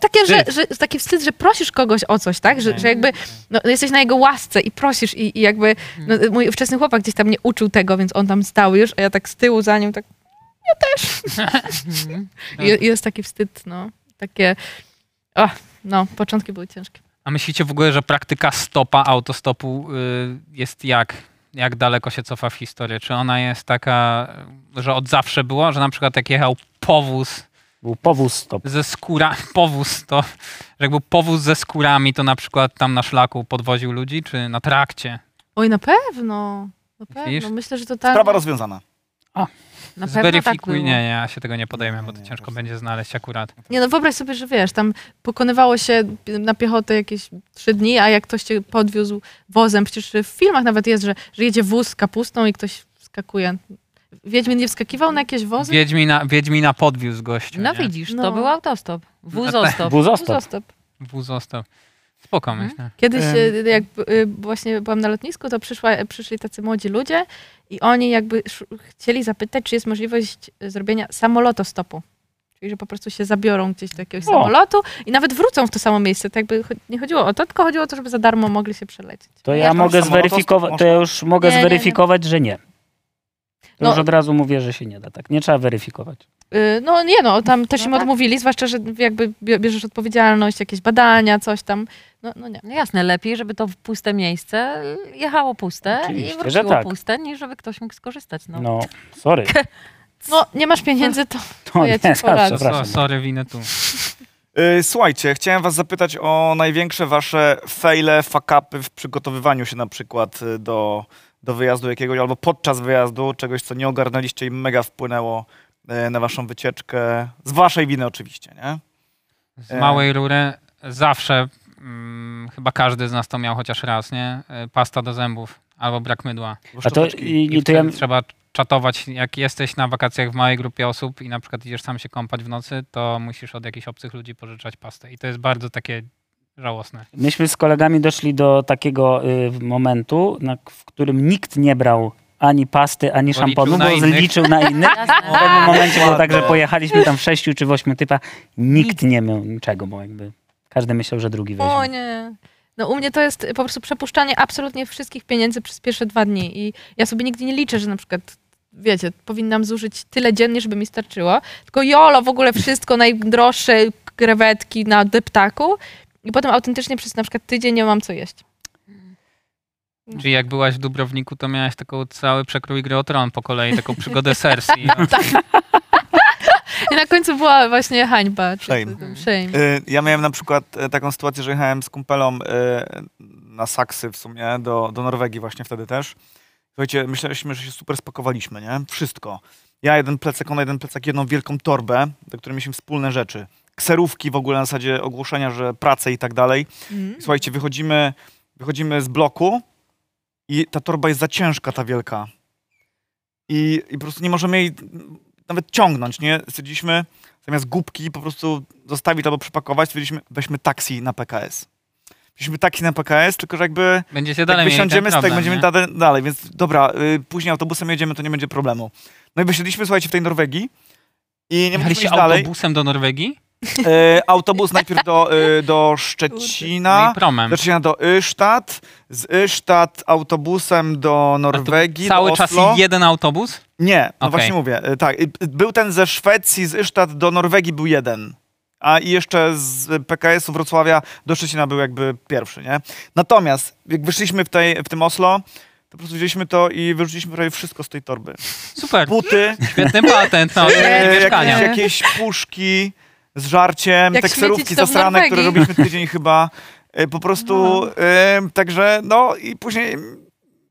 takie że,
Wstyd.
że, taki wstyd, że prosisz kogoś o coś, tak? Że, że jakby no, jesteś na jego łasce i prosisz i, i jakby no,
Hmm.
mój wczesny chłopak gdzieś tam nie uczył tego, więc on tam stał już, a ja tak z tyłu za nim tak,
[laughs] Mhm.
No.
i, i jest taki wstyd, no. Takie, o, no, początki były ciężkie.
A myślicie w ogóle, że praktyka stopa, autostopu y, jest jak? Jak daleko się cofa w historię? Czy ona jest taka, że od zawsze była? Że na przykład jak jechał powóz
Był powóz stop.
ze skóra, [laughs] powóz to, że jak był powóz ze skórami, to na przykład tam na szlaku podwoził ludzi, czy na trakcie?
Oj, na pewno. Na
Widzisz?
pewno. Myślę, że to tak.
Sprawa rozwiązana.
Na pewno tak
Zweryfikuj,
było.
nie, nie, ja się tego nie podejmę,
Nie,
bo to
nie,
ciężko
proszę.
będzie znaleźć akurat.
Nie no, wyobraź sobie, że wiesz, tam pokonywało się na piechotę jakieś trzy dni, a jak ktoś cię podwiózł wozem, przecież w filmach nawet jest, że, że jedzie wóz z kapustą i ktoś skakuje. Wiedźmin nie wskakiwał na jakieś wozy?
Wiedźmina, Wiedźmina podwiózł gościu,
No
nie?
widzisz, to
No.
był autostop. Wuzostop.
[laughs]
Buzostop.
Zostaw.
Wóz został. Spoko,
Mhm.
myślę.
Kiedyś,
Em.
e, jak e, właśnie byłam na lotnisku, to przyszła, e, przyszli tacy młodzi ludzie i oni jakby szu- chcieli zapytać, czy jest możliwość e, zrobienia samolotostopu. Czyli, że po prostu się zabiorą gdzieś do jakiegoś
O.
samolotu i nawet wrócą w to samo miejsce. To jakby cho- nie chodziło o to, tylko chodziło o to, żeby za darmo mogli się przelecieć.
To
Jak
ja
tam
mogę
samolotostop
zweryfikować, to
można?
ja już mogę
Nie, nie, nie.
zweryfikować, że nie. To
No.
już od razu mówię, że się nie da tak. Nie trzeba weryfikować.
Y, No nie no, tam też
No
im
tak.
odmówili, zwłaszcza, że jakby bie- bierzesz odpowiedzialność, jakieś badania, coś tam. No, no nie.
No jasne, lepiej, żeby to w puste miejsce jechało puste
Oczywiście,
i
że
wróciło
tak.
puste, niż żeby ktoś mógł skorzystać. No.
No, sorry.
No nie masz pieniędzy, [laughs] to
[laughs] To
ja
nie,
ci poradzę.
przepraszam.
Tak, So, sorry, winę tu.
Yy, słuchajcie, chciałem was zapytać o największe wasze fejle, fakapy w przygotowywaniu się na przykład y, do, do wyjazdu jakiegoś albo podczas wyjazdu, czegoś, co nie ogarnęliście i mega wpłynęło y, na waszą wycieczkę. Z waszej winy oczywiście, nie?
Z
E.
małej rury zawsze, mm, chyba każdy z nas to miał chociaż raz, nie? E, Pasta do zębów albo brak mydła.
Bo
A to,
szczoteczki.
i,
I
i to ja,
wtedy trzeba czatować. Jak jesteś na wakacjach w małej grupie osób i na przykład idziesz sam się kąpać w nocy, to musisz od jakichś obcych ludzi pożyczać pastę. I to jest bardzo takie żałosne.
Myśmy z kolegami doszli do takiego y, momentu, na, w którym nikt nie brał ani pasty, ani
Bo
szamponu,
liczył na
bo
innych.
zliczył na
[laughs]
innych. W
Jasne.
pewnym momencie było tak, że
Ładnie.
pojechaliśmy tam w sześciu czy w ośmiu typa, nikt nie miał niczego, bo jakby każdy myślał, że drugi
O
weźmie.
nie. No u mnie to jest po prostu przepuszczanie absolutnie wszystkich pieniędzy przez pierwsze dwa dni i ja sobie nigdy nie liczę, że na przykład wiecie, powinnam zużyć tyle dziennie, żeby mi starczyło, tylko jolo w ogóle wszystko, najdroższe krewetki na deptaku i potem autentycznie przez na przykład tydzień nie mam co jeść.
Czyli jak byłaś w Dubrowniku, to miałaś taką cały przekrój gry o tron po kolei, taką
[laughs]
przygodę Cersei.
No.
I na końcu była właśnie hańba. czy-
Shame.
czy- Shame.
Y, Ja miałem na przykład e, taką sytuację, że jechałem z kumpelą y, na saksy w sumie, do, do Norwegii właśnie wtedy też. Słuchajcie, myśleliśmy, że się super spakowaliśmy, nie? Wszystko. Ja jeden plecak, ona jeden plecak, jedną wielką torbę, do której mieliśmy wspólne rzeczy. Kserówki w ogóle na zasadzie ogłoszenia, że prace i tak dalej.
Mm.
Słuchajcie, wychodzimy, Wychodzimy z bloku i ta torba jest za ciężka, ta wielka. I, i po prostu nie możemy jej nawet ciągnąć, nie? Stwierdziliśmy, zamiast głupki po prostu zostawić albo przepakować, stwierdziliśmy, weźmy taksi na PKS. Wzięliśmy taksi na PKS, tylko że jakby
Będziecie dalej
jak wysiądziemy
mieli
z
ten
tak,
problem,
będziemy
nie?
dalej, dalej, więc dobra, y, później autobusem jedziemy, to nie będzie problemu. No i wysiedliśmy, słuchajcie, w tej Norwegii i nie mogliśmy
Jechaliście
iść dalej.
autobusem do Norwegii?
E, autobus najpierw do, y, do
No
Szczecina,
i promem.
do Szczecina do Ystad, z Ystad autobusem do Norwegii,
Cały
do
czas
Oslo.
jeden autobus?
Nie, no
Okej.
właśnie mówię, y, tak, y, y, był ten ze Szwecji, z Ystad do Norwegii był jeden. A i jeszcze z PKS-u Wrocławia do Szczecina był jakby pierwszy, nie? Natomiast jak wyszliśmy w, tej, w tym Oslo, to po prostu wzięliśmy to i wyrzuciliśmy prawie wszystko z tej torby.
Super,
Buty,
świetny patent na
e,
odnowienie
jakieś,
mieszkania.
jakieś puszki z żarciem,
Jak
te kserówki
śmiecić to w
zasrane, które
Norwegii.
robiliśmy tydzień chyba. E, po prostu, e, także no i później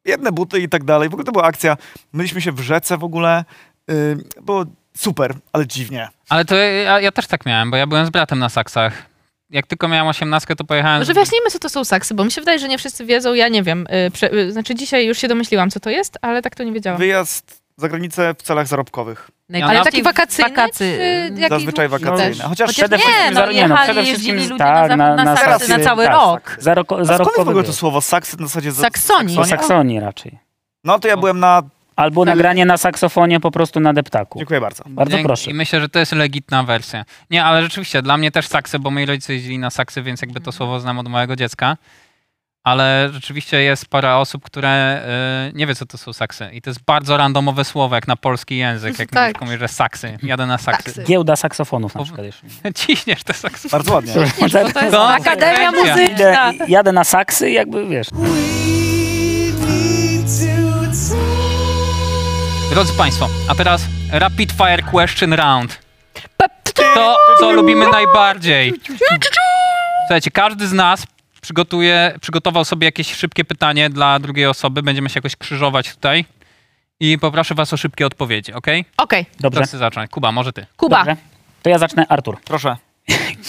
jedne buty i tak dalej. W ogóle to była akcja. Myliśmy się w rzece w ogóle. E, było super, ale dziwnie.
Ale to ja, ja też tak miałem, bo ja byłem z bratem na saksach. Jak tylko miałem osiemnastkę, to pojechałem...
Może wyjaśnijmy, co to są saksy, bo mi się wydaje, że nie wszyscy wiedzą, ja nie wiem. Y, Prze- y, znaczy dzisiaj już się domyśliłam, co to jest, ale tak to nie wiedziałam.
Wyjazd za granicę w celach zarobkowych.
Ale
Najpierw
taki wakacyjny?
Mm.
czy jaki
Zazwyczaj
dłuższy
wakacyjny.
też?
Chociaż,
Chociaż
Przede
nie,
wszystkim
no
za- nie, no,
jechali,
przede wszystkim
jeździli
z-
ludzie
tak,
na,
na-
na,
na
saksy na
saksy,
cały
tak,
rok.
Zaroko,
a skąd w
zarobkowy
ogóle to
wyjazd.
słowo saksy na zasadzie... za-
Saksonii.
Po
słowo?
Saksonii raczej.
No to ja byłem na...
Albo
Ale-
nagranie na saksofonie po prostu na deptaku.
Dziękuję bardzo.
Bardzo
Dzięki.
proszę.
I myślę, że to jest legitna wersja. Nie, ale rzeczywiście, dla mnie też saksy, bo moi rodzice jeździli na saksy, więc jakby
Mhm.
to słowo znam od małego dziecka. Ale rzeczywiście jest parę osób, które y, nie wie, co to są saksy. I to jest bardzo randomowe słowo, jak na polski język. Jak
Tak.
tak. komuś, że saksy, jadę na saksy.
Saksy.
Giełda saksofonów na
O,
przykład jeszcze.
[laughs]
[laughs]
Ciśniesz te saksy.
Bardzo ładnie.
To jest
No.
Akademia
Idę-
Idę,
Muzyczna.
jadę na saksy i jakby, wiesz,
We need to take.
Drodzy Państwo, a teraz rapid fire question round. To, co lubimy najbardziej. Słuchajcie, każdy z nas przygotuje, przygotował sobie jakieś szybkie pytanie dla drugiej osoby. Będziemy się jakoś krzyżować tutaj. I poproszę Was o szybkie odpowiedzi, ok?
Okej,
dobrze.
Kto chce zacząć? Kuba, może Ty.
Kuba.
Dobrze. To ja zacznę, Artur.
Proszę.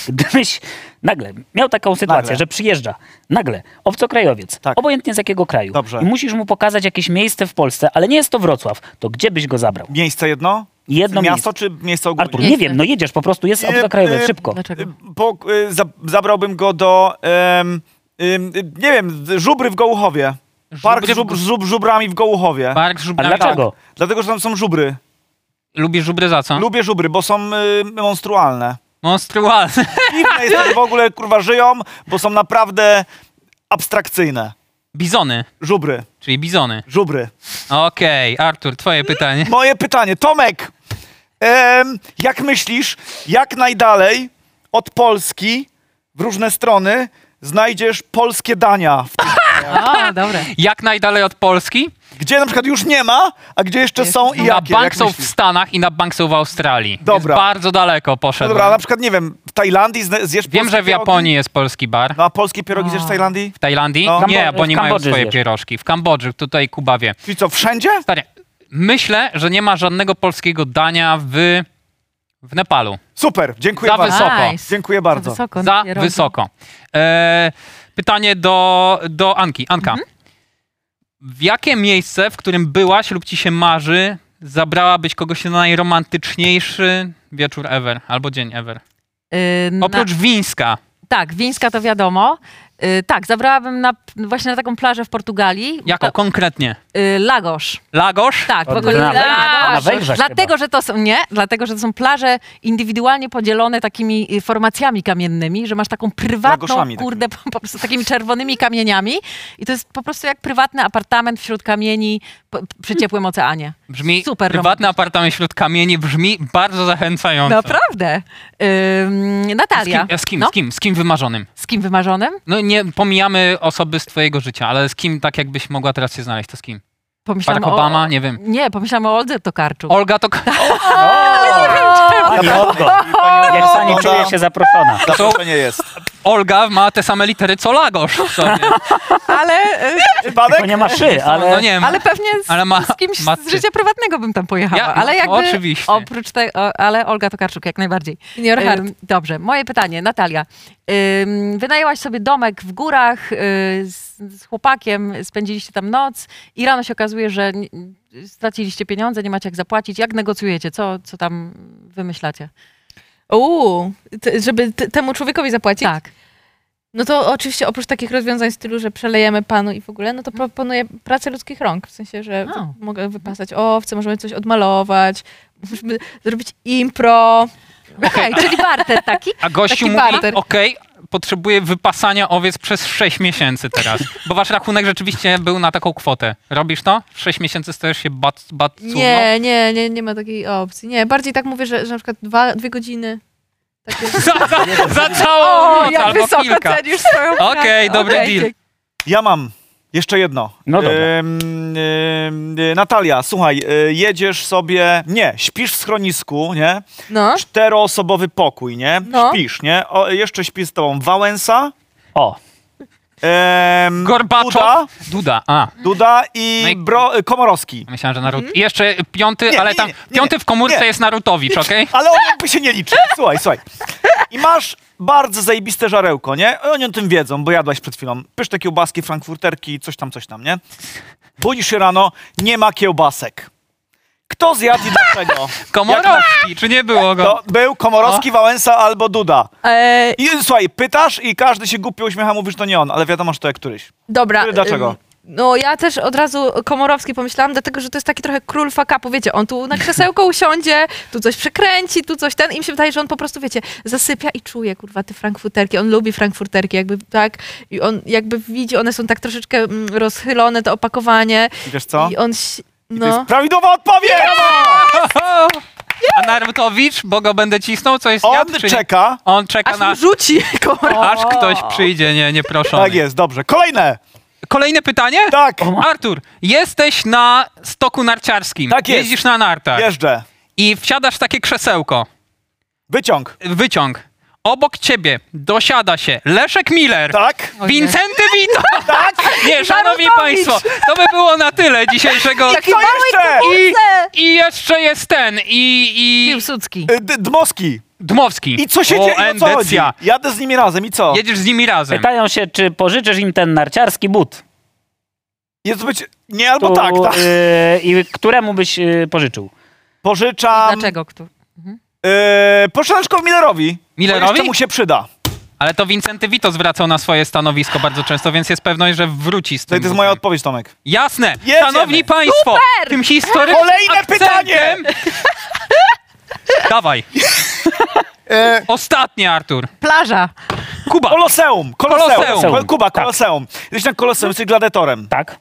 Gdybyś nagle miał taką sytuację,
Nagle.
że przyjeżdża nagle obcokrajowiec,
Tak.
obojętnie z jakiego kraju,
Dobrze.
i musisz mu pokazać jakieś miejsce w Polsce, ale nie jest to Wrocław, to gdzie byś go zabrał?
Miejsce jedno?
Jedno
miasto
miejsce.
czy miejsce ogólne?
Artur, nie
Miejsce.
wiem, no jedziesz, po prostu jest
Nie,
obcokrajowiec,
y,
szybko.
Dlaczego?
Y, Po, y, za, zabrałbym go do, em, ym, y, nie wiem, z- żubry w Gołuchowie. Park
Żubry w
żub,
Go-
żub, żubrami w Gołuchowie.
Park
A
żubrami.
dlaczego?
Dlatego, że tam są żubry.
Lubisz żubry za co?
Lubię żubry, bo są y, monstrualne.
Monstrualne.
Dziwne jest, że w ogóle kurwa żyją, bo są naprawdę abstrakcyjne.
[laughs] Bizony,
Żubry,
czyli bizony.
żubry.
Okej, Artur, twoje pytanie.
Moje pytanie, Tomek, em, jak myślisz, jak najdalej od Polski w różne strony znajdziesz polskie dania w
O, dobre.
Jak najdalej od Polski?
Gdzie na przykład już nie ma, a gdzie jeszcze są No i
na
jakie?
No, bank
jak
są w
myślisz?
Stanach i na bank są w Australii.
Dobra.
Jest bardzo daleko
No
poszedłem.
dobra, a na przykład nie wiem, w Tajlandii zne- zjesz
Wiem,
polskie
że w
pierogi?
Japonii jest polski bar.
No a polskie pierogi zjesz w
A.
Tajlandii?
W Tajlandii?
No.
Nie,
Kambo-
bo nie
w
mają
Kambodży
swoje
zjesz.
pierożki. W Kambodży, tutaj Kuba wie.
Czyli co, wszędzie?
Stary, myślę, że nie ma żadnego polskiego dania w, w Nepalu.
Super, dziękuję
Za
bardzo.
wysoko.
Nice.
Dziękuję bardzo.
Za wysoko.
Za
nie robi.
wysoko. E, pytanie do, do Anki. Anka, w jakie miejsce, w którym byłaś lub ci się marzy, zabrałabyś kogoś na najromantyczniejszy wieczór ever albo dzień ever?
Y, na-
Oprócz Wińska.
Tak, Wińska to wiadomo. Y, tak, zabrałabym na, właśnie na taką plażę w Portugalii.
Jako
Ta-
konkretnie?
y, Lagosz.
Lagosz?
Tak,
Od-
w ogóle
na-
Lagosz.
na Węgrzech
Dlatego, że to są, nie, dlatego, że to są plaże indywidualnie podzielone takimi y, formacjami kamiennymi, że masz taką prywatną,
Lagoszami
kurde, po, po prostu takimi czerwonymi kamieniami i to jest po prostu jak prywatny apartament wśród kamieni po, przy ciepłym oceanie.
Brzmi
Super
prywatny apartament wśród kamieni, brzmi bardzo zachęcająco.
Naprawdę. Ym,
Z kim,
Natalia.
z kim,
No,
z kim, z kim wymarzonym?
z kim wymarzonym?
No nie pomijamy osoby z twojego życia, ale z kim tak jakbyś mogła teraz się znaleźć, to z kim?
Pomyślałam
Barack
o-
Obama? Nie wiem.
Nie, pomyślałam o Oldze Tokarczuk.
Olga to...
Pani Olgo,
Pani
jak pani
Ola,
czuje się zaproszona.
Zaproszenie jest.
Olga ma te same litery co Lagosz w sobie.
[laughs] Ale, e,
Tylko
Przypadek?
nie ma szy, ale...
No nie wiem.
[laughs] ale pewnie z,
Ale ma-
z kimś
ma
z
ty.
życia prywatnego bym tam pojechała.
Ja-
ale
no,
jakby
oczywiście.
oprócz tego, ale Olga Tokarczuk jak najbardziej.
Senior
Ym,
Hard.
Dobrze, moje pytanie, Natalia. Ym, Wynajęłaś sobie domek w górach y, z, z chłopakiem, spędziliście tam noc i rano się okazuje, że n- straciliście pieniądze, nie macie jak zapłacić. Jak negocjujecie? Co, co tam wymyślacie?
Uuu, t- żeby t- temu człowiekowi zapłacić?
Tak.
No to oczywiście oprócz takich rozwiązań w stylu, że przelejemy panu i w ogóle, no to
Mhm.
proponuję pracę ludzkich rąk. W sensie, że
O.
w- mogę wypasać owce, możemy coś odmalować, [laughs] możemy zrobić impro.
Okej, czyli barter taki.
A gościu
Taki
mówi,
barter.
okej, potrzebuję wypasania owiec przez 6 miesięcy teraz. Bo wasz rachunek rzeczywiście był na taką kwotę. Robisz to? W 6 miesięcy stajesz się bat,
[laughs]
bat
Nie, nie, nie, nie ma takiej opcji. Nie, bardziej tak mówię, że, że na przykład dwa, dwie godziny. Tak Takie...
[laughs]
Za, za, za całą noc
jak
no albo
wysoko
kilka.
cenisz swoją pracę.
Okej, dobry
Okej,
deal.
dzięki.
Ja mam. Jeszcze jedno.
No dobra.
Ym, ym, y, Natalia, słuchaj, y, jedziesz sobie, nie, śpisz w schronisku, nie?
No,
Czteroosobowy pokój, nie?
No.
Śpisz, nie? O, jeszcze śpi z tobą Wałęsa,
O,
Tak. em,
Gorbaczow.
Duda,
Duda? A.
Duda i
No i-
Bro, y, Komorowski.
Myślałem, że Narut. I jeszcze piąty,
Nie,
ale
nie,
tam.
nie, nie,
piąty w komórce
nie.
jest Narutowicz,
[laughs]
okej?
Ale on jakby się nie liczy. Słuchaj, słuchaj. I masz bardzo zajebiste żarełko, nie? Oni o tym wiedzą, bo jadłaś przed chwilą. Pyszne kiełbaski, frankfurterki, coś tam, coś tam, nie? Budzisz się rano, nie ma kiełbasek. Kto zjadł i dlaczego?
Komorowski, czy nie było go?
To był Komorowski, Wałęsa albo Duda.
e,
I słuchaj, pytasz i każdy się głupio uśmiecha, mówisz, to nie on, ale wiadomo, że to jak któryś.
dobra.
Y,
Który dlaczego?
ym, No ja też od razu Komorowski pomyślałam, dlatego że to jest taki trochę król fakapu, wiecie, on tu na krzesełko usiądzie, tu coś przekręci, tu coś ten i mi się wydaje, że on po prostu, wiecie, zasypia i czuje, kurwa, te frankfurterki, on lubi frankfurterki, jakby tak, i on jakby widzi, one są tak troszeczkę mm, rozchylone, to opakowanie
I Wiesz co?
i on... ś-
I
No.
to jest prawidłowa odpowiedź!
A Narutowicz, bo go będę cisnął, co jest
On czeka.
On czeka
Aż mu
na.
rzuci [laughs] komora.
Aż ktoś przyjdzie, nie, nie proszą.
Tak jest, dobrze. Kolejne!
Kolejne pytanie?
Tak,
Artur, jesteś na stoku narciarskim.
Tak jest.
Jeździsz na nartach.
jeżdżę.
I wsiadasz w takie krzesełko.
Wyciąg.
Wyciąg. Obok ciebie dosiada się Leszek Miller.
Tak,
Wincenty
[laughs]
Wito! Nie, szanowni
Narutowicz.
państwo, to by było na tyle dzisiejszego...
[laughs]
Taki
Co
mały
jeszcze?
I, I jeszcze jest ten, i, i
Piłsudski.
Y, D- Dmowski.
Dmowski.
I co się dzieje? O co chodzi?
endecja.
Jadę z nimi razem i co?
Jedziesz z nimi razem.
pytają się, czy pożyczysz im ten narciarski but.
Jest być... Nie, albo tak, tak.
y, I któremu byś y, pożyczył?
Pożyczam...
Dlaczego? Kto?
Yy, pożyczam szkoły Millerowi.
Millerowi?
Bo jeszcze mu się przyda.
Ale to Vincenty Vito zwracał na swoje stanowisko bardzo często, więc jest pewność, że wróci z
To
tym.
jest moja
butem.
odpowiedź, Tomek.
Jasne!
Jedziemy.
Szanowni Państwo! Tym historycznym
Kolejne
akcentem... [laughs]
[laughs]
Dawaj.
E-
Ostatni, Artur.
Plaża.
Kuba.
Koloseum! Koloseum!
Koloseum.
Ko- Kuba, Koloseum. Jesteś na Koloseum, jesteś gladiatorem.
Tak?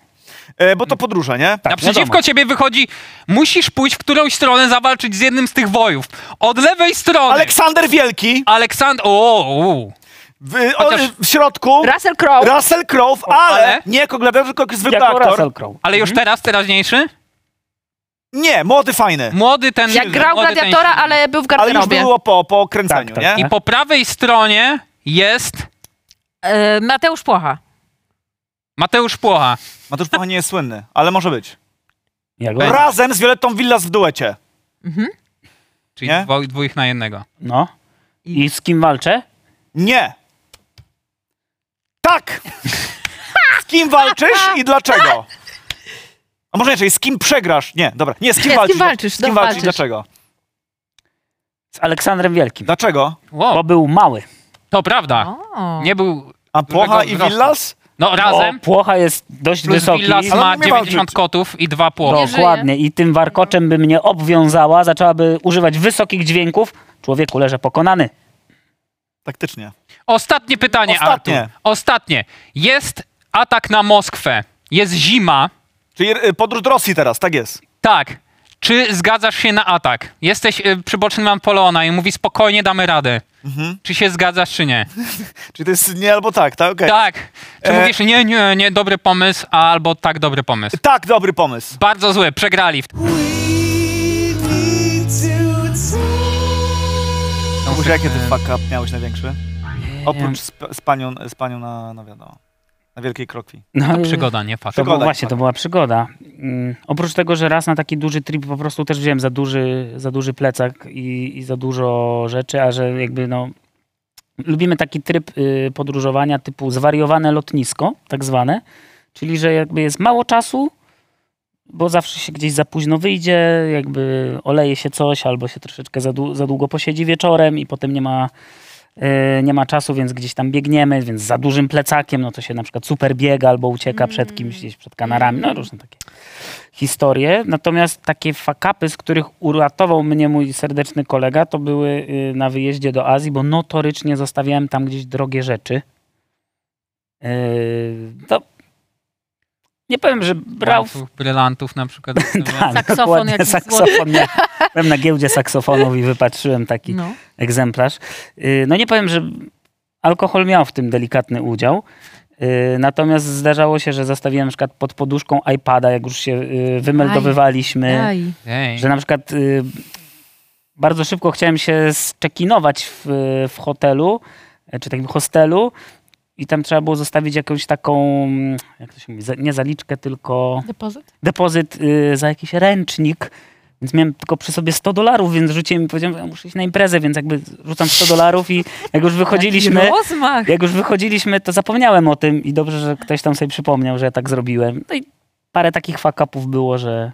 E, bo to podróże, nie?
Naprzeciwko
wiadomo.
ciebie wychodzi, musisz pójść w którąś stronę zawalczyć z jednym z tych wojów. Od lewej strony
Aleksander Wielki,
Aleksandr... O, u.
w, y, o,
Chociaż-
w środku
Russell Crowe.
Russell Crowe, ale,
ale?
nie jako gladiator, tylko jako zwykły
Jako
aktor. Mhm.
Russell Crowe.
Ale już tak- teraz, teraźniejszy?
Nie, młody, fajny.
Młody ten...
Jak grał
młody ten
gladiatora,
silny.
ale był w
Ale już
garderobie.
było po, po kręceniu,
Tak, tak.
nie?
I po prawej stronie jest
E, Mateusz Płocha.
Mateusz Płocha.
Mateusz Pacha nie jest słynny, ale może być.
Ja go...
Razem z Violettą Villas w duecie.
Czyli
Nie?
dwo, dwóch na jednego.
No. I z kim walczę?
Nie. Tak! Z kim walczysz i dlaczego? A może inaczej, z kim przegrasz? Nie, dobra. Nie, z
Nie,
kim
z kim
walczysz?
walczysz,
Z kim
no,
walczysz i
walczysz.
dlaczego?
Z Aleksandrem Wielkim.
No.
Dlaczego?
Bo
Wow,
był mały.
to
No.
prawda.
O.
Nie był...
A Płocha i
wzrostu.
Villas?
No razem.
Bo Płocha jest dość
Plus
wysoki. No,
Villas
Ale
ma
on nie walczy.
90 kotów i dwa płochy.
żyje.
Dokładnie. I tym warkoczem by mnie obwiązała, zaczęłaby używać wysokich dźwięków. Człowieku leżę pokonany.
Taktycznie.
Ostatnie pytanie,
No. Ostatnie.
Artur. Ostatnie. Jest atak na Moskwę. Jest zima.
Czyli y, podróż do Rosji teraz, tak jest.
Tak. Czy zgadzasz się na atak? Jesteś y, przybocznym Napoleona i mówi spokojnie damy radę. Czy się zgadzasz, czy nie?
Czyli to jest nie albo tak, tak? Okej.
Tak. Czy
E-
mówisz nie, nie, nie, dobry pomysł, albo tak, dobry pomysł.
Tak, dobry pomysł.
Bardzo zły, przegrali w
We need to take
Może jakie ty fuck up miałeś największy? Oprócz z, z panią, z panią na, no wiadomo, na Wielkiej Krokwi.
No,
To przygoda, nie patrz.
To było,
Przygoda,
właśnie, to
tak.
była przygoda. Mm, oprócz tego, że raz na taki duży trip po prostu też wziąłem za duży, za duży plecak i, i za dużo rzeczy, a że jakby no... Lubimy taki tryb y, podróżowania typu zwariowane lotnisko, tak zwane, czyli że jakby jest mało czasu, bo zawsze się gdzieś za późno wyjdzie, jakby oleje się coś albo się troszeczkę za, dłu- za długo posiedzi wieczorem i potem nie ma e, nie ma czasu, więc gdzieś tam biegniemy, więc za dużym plecakiem, no to się na przykład super biega albo ucieka przed kimś gdzieś, przed kanarami, no różne takie historie. Natomiast takie fakapy, z których uratował mnie mój serdeczny kolega, to były y, na wyjeździe do Azji, bo notorycznie zostawiałem tam gdzieś drogie rzeczy. Yy, to nie powiem, że brał w
Łańcuch brylantów na
[laughs]
przykład. zostawiamy.
tak,
Saksofon
dokładnie,
jakiś
saksofon. miałem- Byłem na giełdzie saksofonów i wypatrzyłem taki
No.
egzemplarz. Yy, No nie powiem, że alkohol miał w tym delikatny udział. Yy, Natomiast zdarzało się, że zostawiłem na przykład pod poduszką iPada, jak już się yy,
E,
wymeldowywaliśmy,
Aj.
Ej,
że na przykład yy, bardzo szybko chciałem się zczekinować w, w hotelu, e, czy takim hostelu i tam trzeba było zostawić jakąś taką, mm, jak to się mówi, za, nie zaliczkę, tylko
Depozyt?
depozyt y, za jakiś ręcznik, więc miałem tylko przy sobie 100 dolarów, więc rzuciłem i powiedziałem, że muszę iść na imprezę, więc jakby rzucam 100 dolarów i jak już wychodziliśmy,
Jaki rozmach.
jak już wychodziliśmy, to zapomniałem o tym i dobrze, że ktoś tam sobie przypomniał, że ja tak zrobiłem. No i parę takich fuck-upów było, że,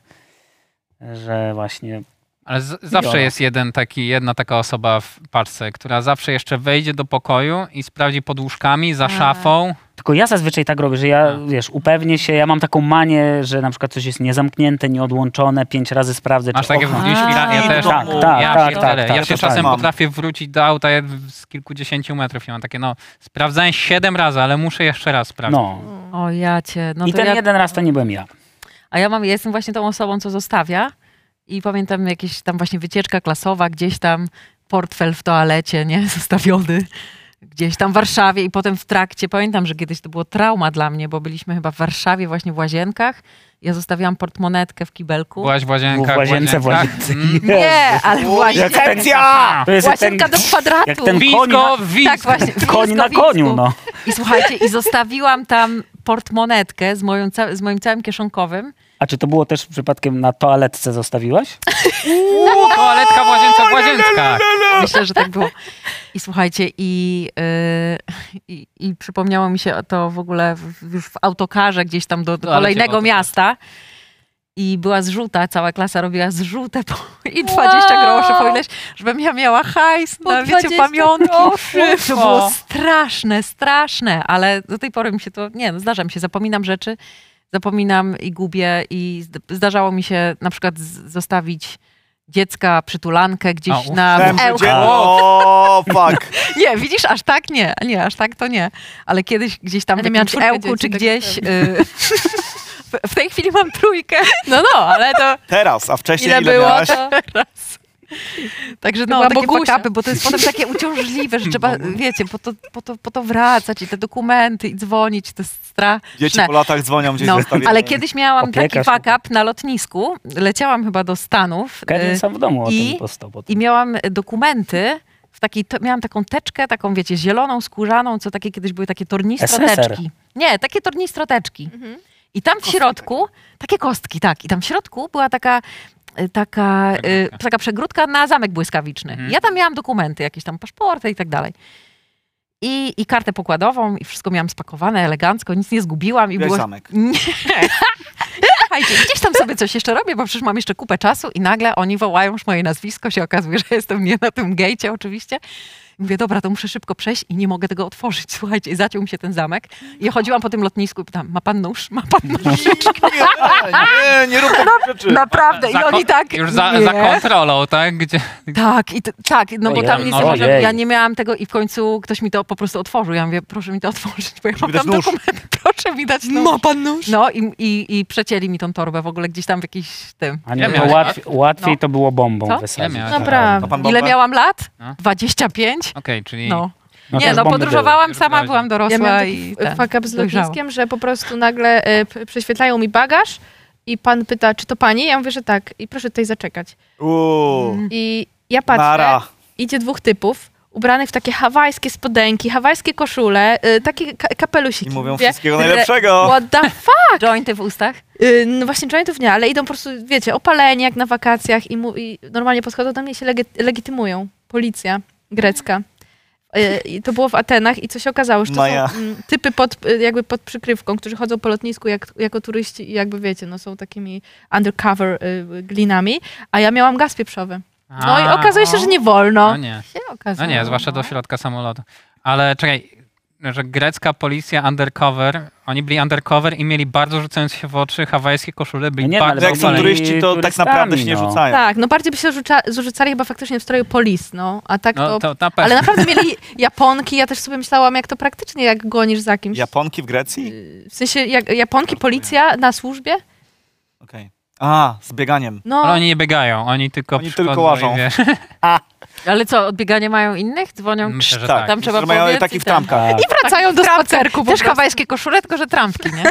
że właśnie
ale z, zawsze
Jola.
jest jeden taki, jedna taka osoba w paczce, która zawsze jeszcze wejdzie do pokoju i sprawdzi pod łóżkami, za
A.
Tak.
szafą.
Tylko ja zazwyczaj tak robię, że ja,
A.
wiesz, upewnię się, ja mam taką manię, że na przykład coś jest niezamknięte, nieodłączone, pięć razy sprawdzę,
Masz
czy
takie
och,
wrócić
A.
ja też.
Tak,
domu.
tak,
ja
tak,
pierdzielę.
tak, tak,
ja się
tak,
czasem
mam.
potrafię wrócić do auta ja z kilkudziesięciu metrów. Ja mam takie, no, sprawdzałem siedem razy, ale muszę jeszcze raz sprawdzić.
No.
O ja cię. No
I
to
ten
ja,
jeden raz to nie byłem ja.
A ja mam, ja jestem właśnie tą osobą, co zostawia. I pamiętam jakieś tam właśnie wycieczka klasowa, gdzieś tam portfel w toalecie, nie? [laughs] Zostawiony. Gdzieś tam w Warszawie i potem w trakcie. Pamiętam, że kiedyś to było trauma dla mnie, bo byliśmy chyba w Warszawie właśnie w Łazienkach. Ja zostawiłam portmonetkę w kibelku.
Byłaś w łazienkach.
W łazience, w
[laughs]
łazience.
Mm.
Nie, ale w Łazienkach.
Sekcja!
To jest jak ten,
Łazienka do kwadratu.
jak ten koń na,
Wisko, wisko.
Tak właśnie. w
koń na
Wiskowisku.
koniu, no.
I słuchajcie, i zostawiłam tam portmonetkę z, moją, ca- z moim całym kieszonkowym.
A czy to było też przypadkiem na toaletce zostawiłaś?
Uuu, Toaletka w łazience, w łazienkach.
Myślę, że tak było. I słuchajcie, i, yy, i, i przypomniało mi się to w ogóle w, już w autokarze gdzieś tam do, do
No, Ale cię w
kolejnego
autokarze.
miasta. I była zrzuta, cała klasa robiła zrzutę po, [laughs] i 20 groszy po ileś, żebym ja miała hajs
Po
na wiecie,
20
pamiątki.
groszy,
To było straszne, straszne, ale do tej pory mi się to, nie no, zdarza mi się, zapominam rzeczy, zapominam i gubię i zd- zdarzało mi się na przykład z- zostawić dziecka, przytulankę gdzieś
Au.
na
Pępy
ełku.
dziecko. O, fuck.
Nie, widzisz, aż tak nie, nie, aż tak to nie. Ale kiedyś gdzieś tam w
Ale miałam
jakimś
czwórkę
ełku
dzieci,
czy
tak
gdzieś...
samo.
y, [laughs] w- w tej chwili mam trójkę. No, no, ale to...
Teraz, a wcześniej ile,
Ile było
miałaś?
to?
Także
To
no,
była
takie
Bogusia.
fuck upy, bo to jest potem takie uciążliwe, że trzeba, wiecie, po to, po, to, po to wracać i te dokumenty i dzwonić, to jest
Dzieci
straszne.
po latach dzwonią gdzieś
No,
zostawienie.
ale kiedyś miałam taki
Opiekarz.
fuck up na lotnisku, leciałam chyba do Stanów
Kevin
y,
sam w domu o
i-
tym postał potem.
i miałam e, dokumenty w takiej, to, miałam taką teczkę, taką wiecie, zieloną, skórzaną, co takie kiedyś były takie tornistroteczki.
SSR.
Nie, takie tornistroteczki. I tam w środku, takie kostki, tak, i tam w środku była taka y, taka, y,
Przegródka.
taka przegródka na Zamek Błyskawiczny.
Mhm.
Ja tam miałam dokumenty, jakieś tam paszporty i tak dalej. I, I kartę pokładową, i wszystko miałam spakowane elegancko, nic nie zgubiłam. i
Miałeś
było...
zamek.
Nie. [laughs] Słuchajcie, gdzieś tam sobie coś jeszcze robię, bo przecież mam jeszcze kupę czasu i nagle oni wołają już moje nazwisko, się okazuje, że jestem nie na tym gejcie oczywiście. Mówię, dobra, to muszę szybko przejść i nie mogę tego otworzyć. [laughs] Słuchajcie, i zaciął mi się ten zamek. I ja chodziłam po tym lotnisku i pytam, ma pan nóż? Ma
[laughs]
pan nóż?
Nie, nie rób takich rzeczy.
Naprawdę. I
Za
oni
ko-
tak,
Już za,
nie.
za kontrolą, tak? Gdzie,
Tak, i t- tak, no bo
Ojej,
tam nic nie
ojej.
można, ja nie miałam tego i w końcu ktoś mi to po prostu otworzył. Ja mówię, proszę mi to otworzyć, bo ja mam
dać
tam
nóż.
dokument, [laughs] proszę mi dać nóż.
Ma pan nóż?
No i, i, i przecięli mi tą torbę w ogóle gdzieś tam w jakiś tym.
A nie,
Ja
to
miałem-
łatwiej, łatwiej
No.
to było bombą
Co?
wysadzić. Tak.
Ja miałem-
Naprawdę.
A pan
Ile
Bobek?
miałam lat?
No.
25?
Okej, czyli
No.
No
nie,
też
no
bomby
podróżowałam
były.
sama, byłam
Ja
dorosła
miałam taki
i
f-
ten.
fuck up z
dojrzałam.
lotniskiem, że po prostu nagle y, p- prześwietlają mi bagaż i pan pyta, czy to pani? Ja mówię, że tak. I proszę tutaj zaczekać.
Uuu,
I ja patrzę,
Mara.
idzie dwóch typów, ubranych w takie hawajskie spodenki, hawajskie koszule, y, takie ka- kapelusiki.
I mówią
Mówię,
wszystkiego
re-
najlepszego.
What
[laughs]
the fuck?
Tak. Jointy w ustach.
Y, No właśnie jointów nie, ale idą po prostu, wiecie, opaleni jak na wakacjach i, mu, i normalnie podchodzą do mnie i się legi- legitymują. Policja grecka. Y, I to było w Atenach i co się okazało, że to
Maja.
są mm, typy pod, y, jakby pod przykrywką, którzy chodzą po lotnisku jak, jako turyści i jakby wiecie, no są takimi undercover y, glinami, a ja miałam gaz pieprzowy. No i
A,
okazuje się, że nie
No
wolno.
nie,
Się
no
okazało,
nie, zwłaszcza do środka samolotu. Ale czekaj, że grecka policja undercover, oni byli undercover i mieli bardzo rzucające się w oczy hawajskie koszule, byli
No nie, no, ale
bardzo
Że jak są
Byli
opaleni.
turyści, to tak
turystami,
naprawdę się nie
no.
rzucają.
Tak, no bardziej by się rzuca, zrzucali chyba faktycznie w stroju polis, no, a tak
No
to...
to na
Ale
pewno.
naprawdę mieli Japonki, ja też sobie myślałam, jak to praktycznie, jak gonisz za kimś.
Japonki w Grecji?
W sensie jak, Japonki, policja na służbie?
Okej. A, z bieganiem.
No,
Ale oni nie biegają, oni tylko
Oni
przychodzą
tylko łażą.
i wiesz,
[laughs]
Ale co, odbieganie mają innych? Dzwonią?
Myślę, że
Tak,
tak.
Tam trzeba
że mają
powiedz
taki
i
w
ten.
trampkach.
wracają do spacerku. po
Też
prostu.
hawajskie koszule, tylko że trampki, [laughs] nie?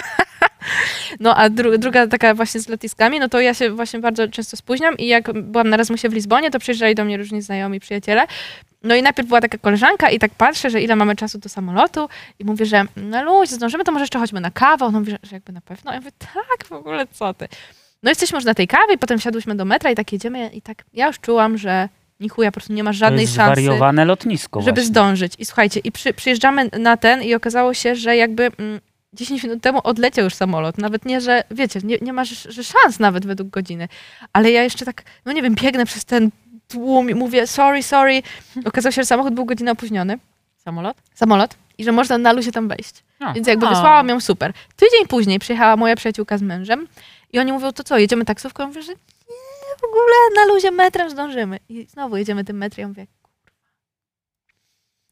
No a dru druga taka właśnie z lotniskami, no to ja się właśnie bardzo często spóźniam i jak byłam na Erasmusie w Lizbonie, to przyjeżdżali do mnie różni znajomi, przyjaciele. No i najpierw była taka koleżanka i tak patrzę, że ile mamy czasu do samolotu i mówię, że no luź, zdążymy, to może jeszcze chodźmy na kawę. Ona mówi, że, że jakby na pewno. Ja mówię, tak, w ogóle co ty. No jesteśmy już na tej kawie, potem wsiadłyśmy do metra i tak jedziemy i tak ja już czułam, że ni chuja, po prostu nie ma
to
żadnej
jest
szansy.
zwariowane lotnisko
żeby
właśnie.
zdążyć. I słuchajcie, i przy, przyjeżdżamy na ten i okazało się, że jakby mm, 10 minut temu odleciał już samolot. Nawet nie, że wiecie, nie, nie ma że, że szans nawet według godziny. Ale ja jeszcze tak, no nie wiem, biegnę przez ten tłum i mówię sorry, sorry. Okazało się, że samochód był godzinę opóźniony.
Samolot?
Samolot. I że można na luzie tam wejść.
No.
Więc jakby
A.
wysłałam ją super. Tydzień później przyjechała moja przyjaciółka z mężem i oni mówią, to co, jedziemy taksówką? Ja mówię, że nie, w ogóle na luzie metrem zdążymy. I znowu jedziemy tym metrem. Ja mówię, kurwa.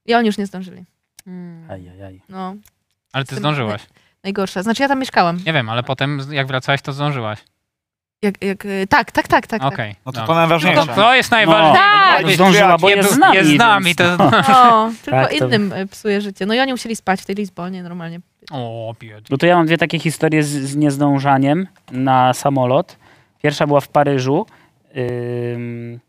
I oni już nie zdążyli.
Mm.
Ajajaj.
No,
ale ty zdążyłaś.
najgorsza. Znaczy ja tam mieszkałam.
Nie wiem, ale potem jak wracałaś, to
Tak,
zdążyłaś.
Jak, jak, e, tak, tak, tak, tak.
[laughs]
tak.
Okej.
No to
no.
to najważniejsze.
To- To jest najważniejsze.
Tak!
Ej,
No, Zdążyła, bo
jak
jest z nami.
Jest z nami.
więc- no.
To...
O, No, tylko
Tak, to-
innym e, psuje życie. No i oni musieli spać w tej Lizbonie normalnie.
O, biedny.
No to ja mam dwie takie historie z, z niezdążaniem na samolot. Pierwsza była w Paryżu. Ym,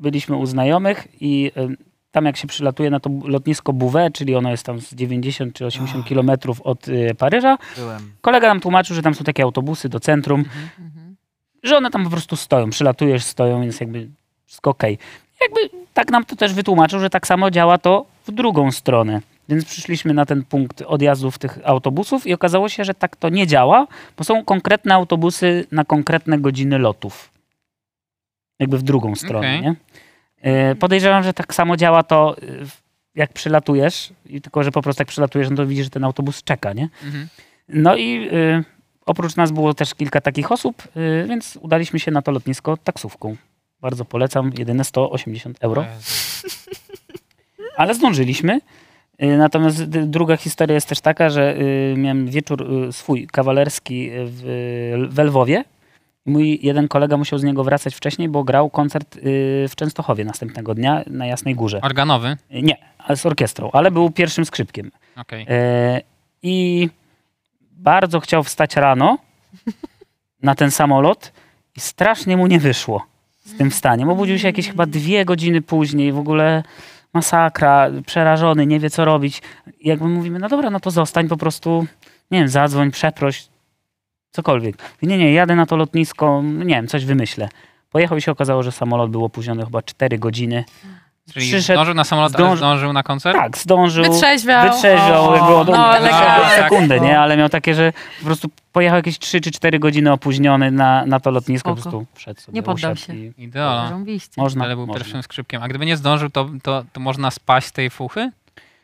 byliśmy u znajomych i ym, tam jak się przylatuje na to bu- lotnisko Bouvet, czyli ono jest tam z 90 czy 80 kilometrów od y, Paryża,
Byłem.
kolega nam tłumaczył, że tam są takie autobusy do centrum, że one tam po prostu stoją, przylatujesz, stoją, więc jakby wszystko okej. Jakby tak nam to też wytłumaczył, że tak samo działa to w drugą stronę. Więc przyszliśmy na ten punkt odjazdów tych autobusów i okazało się, że tak to nie działa, bo są konkretne autobusy na konkretne godziny lotów. Jakby w drugą stronę,
Okej.
nie? E, Podejrzewam, że tak samo działa to, e, w- jak przylatujesz, i tylko że po prostu jak przylatujesz, no to widzisz, że ten autobus czeka, nie?
Mhm.
No i y, oprócz nas było też kilka takich osób, y, więc udaliśmy się na to lotnisko taksówką. Bardzo polecam, jedyne 180 euro, ale zdążyliśmy. Y, Natomiast d- druga historia jest też taka, że y, miałem wieczór y, swój kawalerski w, we Lwowie. Mój jeden kolega musiał z niego wracać wcześniej, bo grał koncert y, w Częstochowie następnego dnia na Jasnej Górze.
Organowy?
Y, Nie, ale z orkiestrą, ale był pierwszym skrzypkiem.
Okej.
E, I bardzo chciał wstać rano na ten samolot i strasznie mu nie wyszło z tym wstaniem. Obudził się jakieś chyba dwie godziny później, w ogóle masakra, przerażony, nie wie co robić. Jakby mówimy, no dobra, no to zostań po prostu, nie wiem, zadzwoń, przeproś, cokolwiek. Nie, nie, jadę na to lotnisko, nie wiem, coś wymyślę. Pojechał i się okazało, że samolot był opóźniony chyba 4 godziny.
Czyli
Przyszedł-
zdążył na samolot, ale
zdąży-
zdążył na koncert?
Tak, zdążył
Wytrzeźwiał.
wytrzeźwiał,
O,
jakby od,
no,
no,
elegancko.
sekundę, nie? Ale miał takie, że po prostu pojechał jakieś 3 czy 4 godziny opóźniony na, na to lotnisko, po
Spoko.
prostu wszedł sobie,
Nie poddał
usiadł
się.
i
Ideolo.
Żąbiście.
Można,
Ale był
można.
pierwszym skrzypkiem. A gdyby nie zdążył, to, to, to można spaść z tej fuchy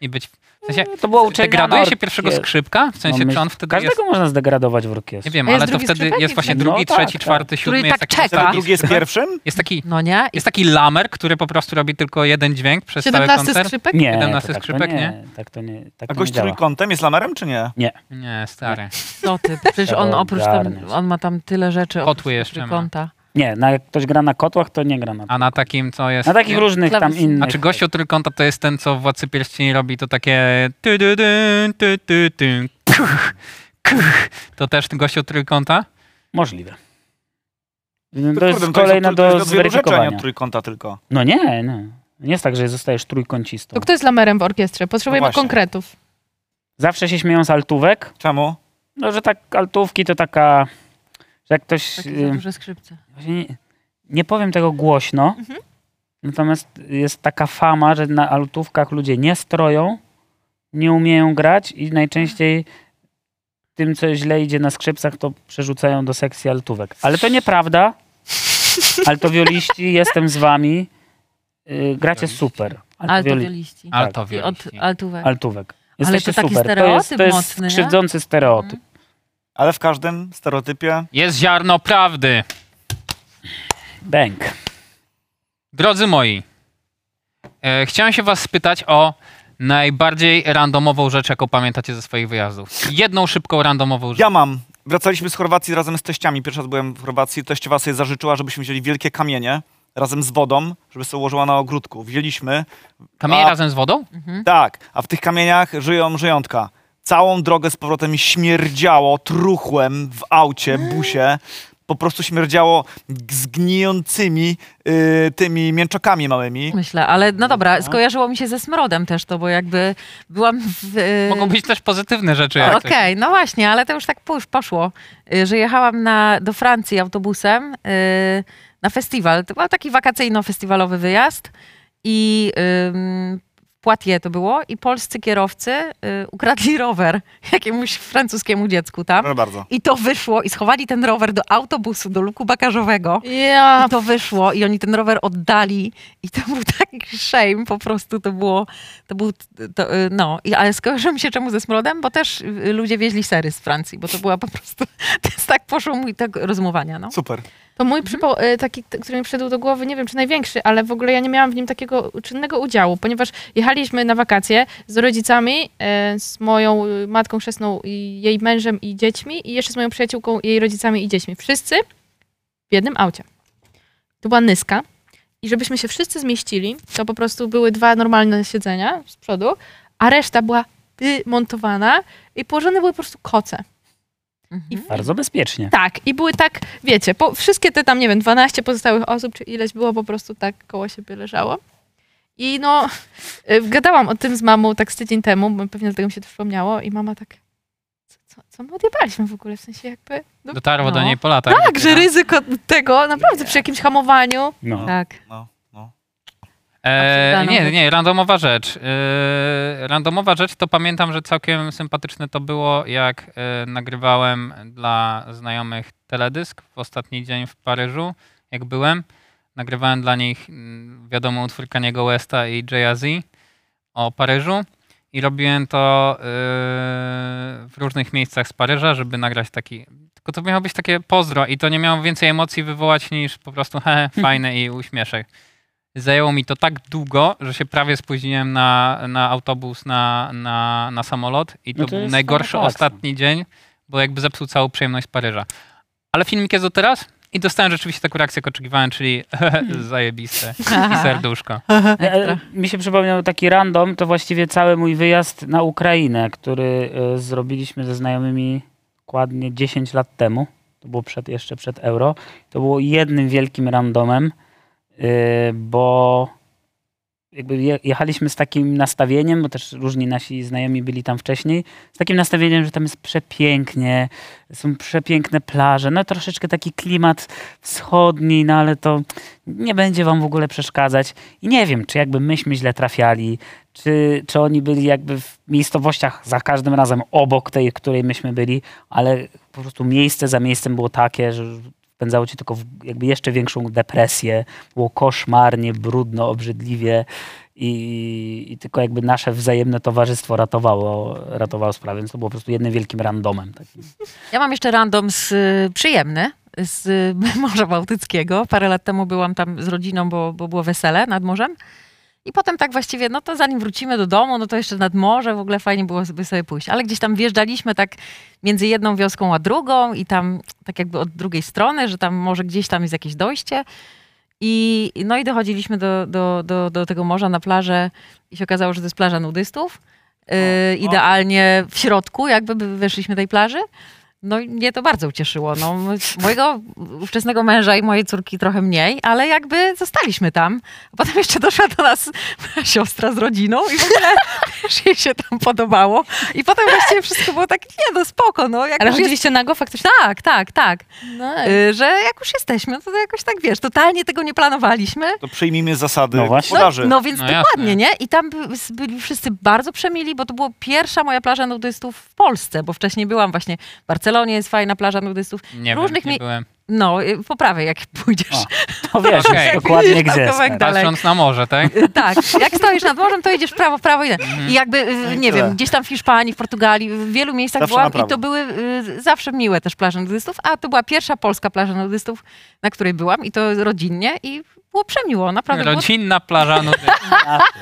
i być... W sensie,
To była uczelnia
degraduje się
na
pierwszego
orkiest-
skrzypka? W sensie,
No,
czy on
myśl-
wtedy jest...
Każdego można zdegradować w
Nie
orkiestrze.
wiem,
A jest
ale to
drugi
wtedy
skrzypek?
jest właśnie
No
drugi,
tak,
trzeci,
tak.
czwarty, siódmy.
tak
Jest taki,
czeka.
Wtedy
Tak.
drugi jest pierwszym?
jest taki
No nie? I
Jest taki lamer, który po prostu robi tylko jeden dźwięk przez cały
17
koncert.
skrzypek?
Nie,
17
to tak to
skrzypek,
nie. Tak to nie, tak
A
to nie
gość
działa.
trójkątem jest lamerem, czy nie?
Nie, stary.
co ty? Przecież on oprócz
Ogarniasz.
tam, on ma tam tyle rzeczy. oprócz
Kotły jeszcze ma.
trójkąta.
Nie, na, jak ktoś gra na kotłach, to nie gra na
A na takim, co jest...
Na takich różnych tam
Klawesyn.
innych.
A czy gościu trójkąta to jest ten, co w Władcy Pierścieni robi to takie... ty, dy, dy, ty, ty, ty, kuch, kuch. To też ten gościu trójkąta?
Możliwe. No, to
Kurde,
jest
no
kolejna
to
do
jest od wielu rzeczy, a nie
zweryfikowania.
od trójkąta tylko.
No nie, no. Nie jest tak, że zostajesz trójkącistą.
To kto jest lamerem w orkiestrze?
No
Potrzebujemy
właśnie.
konkretów.
Zawsze się śmieją z altówek.
Czemu?
No, że tak altówki to taka... Że jak ktoś...
Takie za
y,
duże skrzypce.
Właśnie Nie, nie powiem tego głośno,
Mhm.
natomiast jest taka fama, że na altówkach ludzie nie stroją, nie umieją grać i najczęściej tym, co źle idzie na skrzypcach, to przerzucają do sekcji altówek. Ale to nieprawda. Altowioliści, [laughs] jestem z wami. Yy, gracie super. Altowioli-
Altowioliści.
Tak.
Ale to
I
wiele.
od altówek.
Altówek.
Ale
Jesteście
to taki
super. To jest, to
stereotyp
jest
mocny, nie? Mhm.
skrzywdzący stereotyp.
Ale w każdym stereotypie
Jest ziarno prawdy.
Bęk.
Drodzy moi, e, chciałem się was spytać o najbardziej randomową rzecz, jaką pamiętacie ze swoich wyjazdów. Jedną szybką, randomową rzecz.
Ja mam. Wracaliśmy z Chorwacji razem z teściami. Pierwszy raz byłem w Chorwacji. Teściowa sobie zażyczyła, żebyśmy wzięli wielkie kamienie razem z wodą, żeby sobie ułożyła na ogródku. Wzięliśmy.
Kamienie
A-
razem z wodą?
Mhm.
Tak, a w tych kamieniach żyją żyjątka. Całą drogę z powrotem mi śmierdziało truchłem w aucie, busie. Po prostu śmierdziało zgnijącymi y, tymi mięczokami małymi.
Myślę, ale no dobra, skojarzyło mi się ze smrodem też to, bo jakby byłam w... y,
Mogą być też pozytywne rzeczy. jak
Okej,
coś.
no właśnie, ale to już tak pół- poszło, y, że jechałam na, do Francji autobusem y, na festiwal. To był taki wakacyjno-festiwalowy wyjazd i ym, w Poitiers to było i polscy kierowcy y, ukradli rower [laughs] jakiemuś francuskiemu dziecku tam.
Proszę bardzo.
I to wyszło i schowali ten rower do autobusu, do luku bagażowego.
Ja,
I to wyszło i oni ten rower oddali i to był taki shame po prostu, to było, to był, to, y, no. I, ale skojarzyło mi się czemu ze smrodem, bo też y, ludzie wieźli sery z Francji, bo to była po prostu, [laughs] to jest tak poszło mój tak rozumowania, no.
Super.
to mój przypał, y, taki, t- który mi przyszedł do głowy, nie wiem czy największy, ale w ogóle ja nie miałam w nim takiego czynnego udziału, ponieważ jechaliśmy na wakacje z rodzicami, y, z moją y, matką chrzestną, i jej mężem i dziećmi i jeszcze z moją przyjaciółką, jej rodzicami i dziećmi. Wszyscy w jednym aucie. To była nyska. I żebyśmy się wszyscy zmieścili, to po prostu były dwa normalne siedzenia z przodu, a reszta była wymontowana i położone były po prostu koce.
Mhm.
Bardzo bezpiecznie.
Tak, i były tak, wiecie, po, wszystkie te tam, nie wiem, 12 pozostałych osób, czy ileś było, po prostu tak koło siebie leżało. I no, y, gadałam o tym z mamą tak z tydzień temu, bo pewnie dlatego mi się to przypomniało i mama tak, co, co, co my odjebaliśmy w ogóle, w sensie jakby... No,
Dotarło do
No.
niej po latach.
tak, że ryzyko tego, naprawdę przy jakimś hamowaniu,
No.
Tak.
No, no.
E,
Absolutna
no.
nie,
nowość.
nie, randomowa rzecz. E, randomowa rzecz to pamiętam, że całkiem sympatyczne to było, jak e, nagrywałem dla znajomych teledysk w ostatni dzień w Paryżu, jak byłem. Nagrywałem dla nich, mm, wiadomo, utwór Kaniego Westa i Jay-Z o Paryżu i robiłem to e, w różnych miejscach z Paryża, żeby nagrać taki... Tylko to miało być takie pozdro i to nie miało więcej emocji wywołać niż po prostu [laughs] he, he, fajne i uśmieszek zajęło mi to tak długo, że się prawie spóźniłem na, na autobus, na, na, na samolot i to,
No to
był
jest
najgorszy
fajna reakcja.
ostatni dzień, bo jakby zepsuł całą przyjemność Paryża. Ale filmik jest do teraz i dostałem rzeczywiście taką reakcję, jak oczekiwałem, czyli [laughs] zajebiste i serduszko.
E, e, Mi się przypomniał taki random, to właściwie cały mój wyjazd na Ukrainę, który e, zrobiliśmy ze znajomymi dokładnie 10 lat temu. To było przed, jeszcze przed euro. To było jednym wielkim randomem, e, bo jakby je- jechaliśmy z takim nastawieniem, bo też różni nasi znajomi byli tam wcześniej, z takim nastawieniem, że tam jest przepięknie, są przepiękne plaże, no troszeczkę taki klimat wschodni, no ale to nie będzie wam w ogóle przeszkadzać. I nie wiem, czy jakby myśmy źle trafiali, czy, czy oni byli jakby w miejscowościach za każdym razem obok tej, której myśmy byli, ale po prostu miejsce za miejscem było takie, że pędzało cię tylko w jakby jeszcze większą depresję. Było koszmarnie, brudno, obrzydliwie i, i tylko jakby nasze wzajemne towarzystwo ratowało, ratowało sprawę, więc to było po prostu jednym wielkim randomem. Takim.
Ja mam jeszcze random z y, przyjemny z [laughs] y, Morza Bałtyckiego. Parę lat temu byłam tam z rodziną, bo, bo było wesele nad morzem. I potem tak właściwie, no to zanim wrócimy do domu, no to jeszcze nad morze w ogóle fajnie było sobie, sobie pójść. Ale gdzieś tam wjeżdżaliśmy tak między jedną wioską a drugą i tam tak jakby od drugiej strony, że tam może gdzieś tam jest jakieś dojście. I, no i dochodziliśmy do, do, do, do tego morza na plażę i się okazało, że to jest plaża nudystów. Yy,
O, o.
idealnie w środku jakby by- weszliśmy tej plaży. No i mnie to bardzo ucieszyło. No, [laughs] mojego ówczesnego męża i mojej córki trochę mniej, ale jakby zostaliśmy tam. A potem jeszcze doszła do nas moja siostra z rodziną i w ogóle [laughs] też jej się tam podobało. I potem właściwie wszystko było tak, nie no spoko, no. Jak
Ale
już jest...
chodziliście nago faktycznie?
Tak, tak, tak.
No,
Y, że jak już jesteśmy, to, to jakoś tak, wiesz, totalnie tego nie planowaliśmy.
To przyjmijmy zasady
No właśnie.
podaży.
No więc
No
dokładnie,
jasne.
nie? I tam by- s- byli wszyscy bardzo przemili, bo to była pierwsza moja plaża nudystów w Polsce, bo wcześniej byłam właśnie w Barcelonie, jest fajna plaża nudystów.
Nie
Różnych
wiem,
mi-
nie byłem.
No, y, poprawię, jak [laughs] pójdziesz.
O, To No wiesz
Okej.
już dokładnie
Widzisz,
gdzie
Markowa,
jest.
jak dalej.
Patrząc na morze, tak?
Y, Tak, jak stoisz nad morzem, to idziesz w prawo, w prawo i,
Mhm.
i jakby, y, nie
No tyle.
wiem, gdzieś tam w Hiszpanii, w Portugalii, w wielu miejscach
Zawsze na
byłam
prawo.
i to były y, zawsze miłe też plaże nudystów, a to była pierwsza polska plaża nudystów, na której byłam i to rodzinnie i było przemiło, naprawdę. było
Rodzinna
[laughs]
plaża nudy.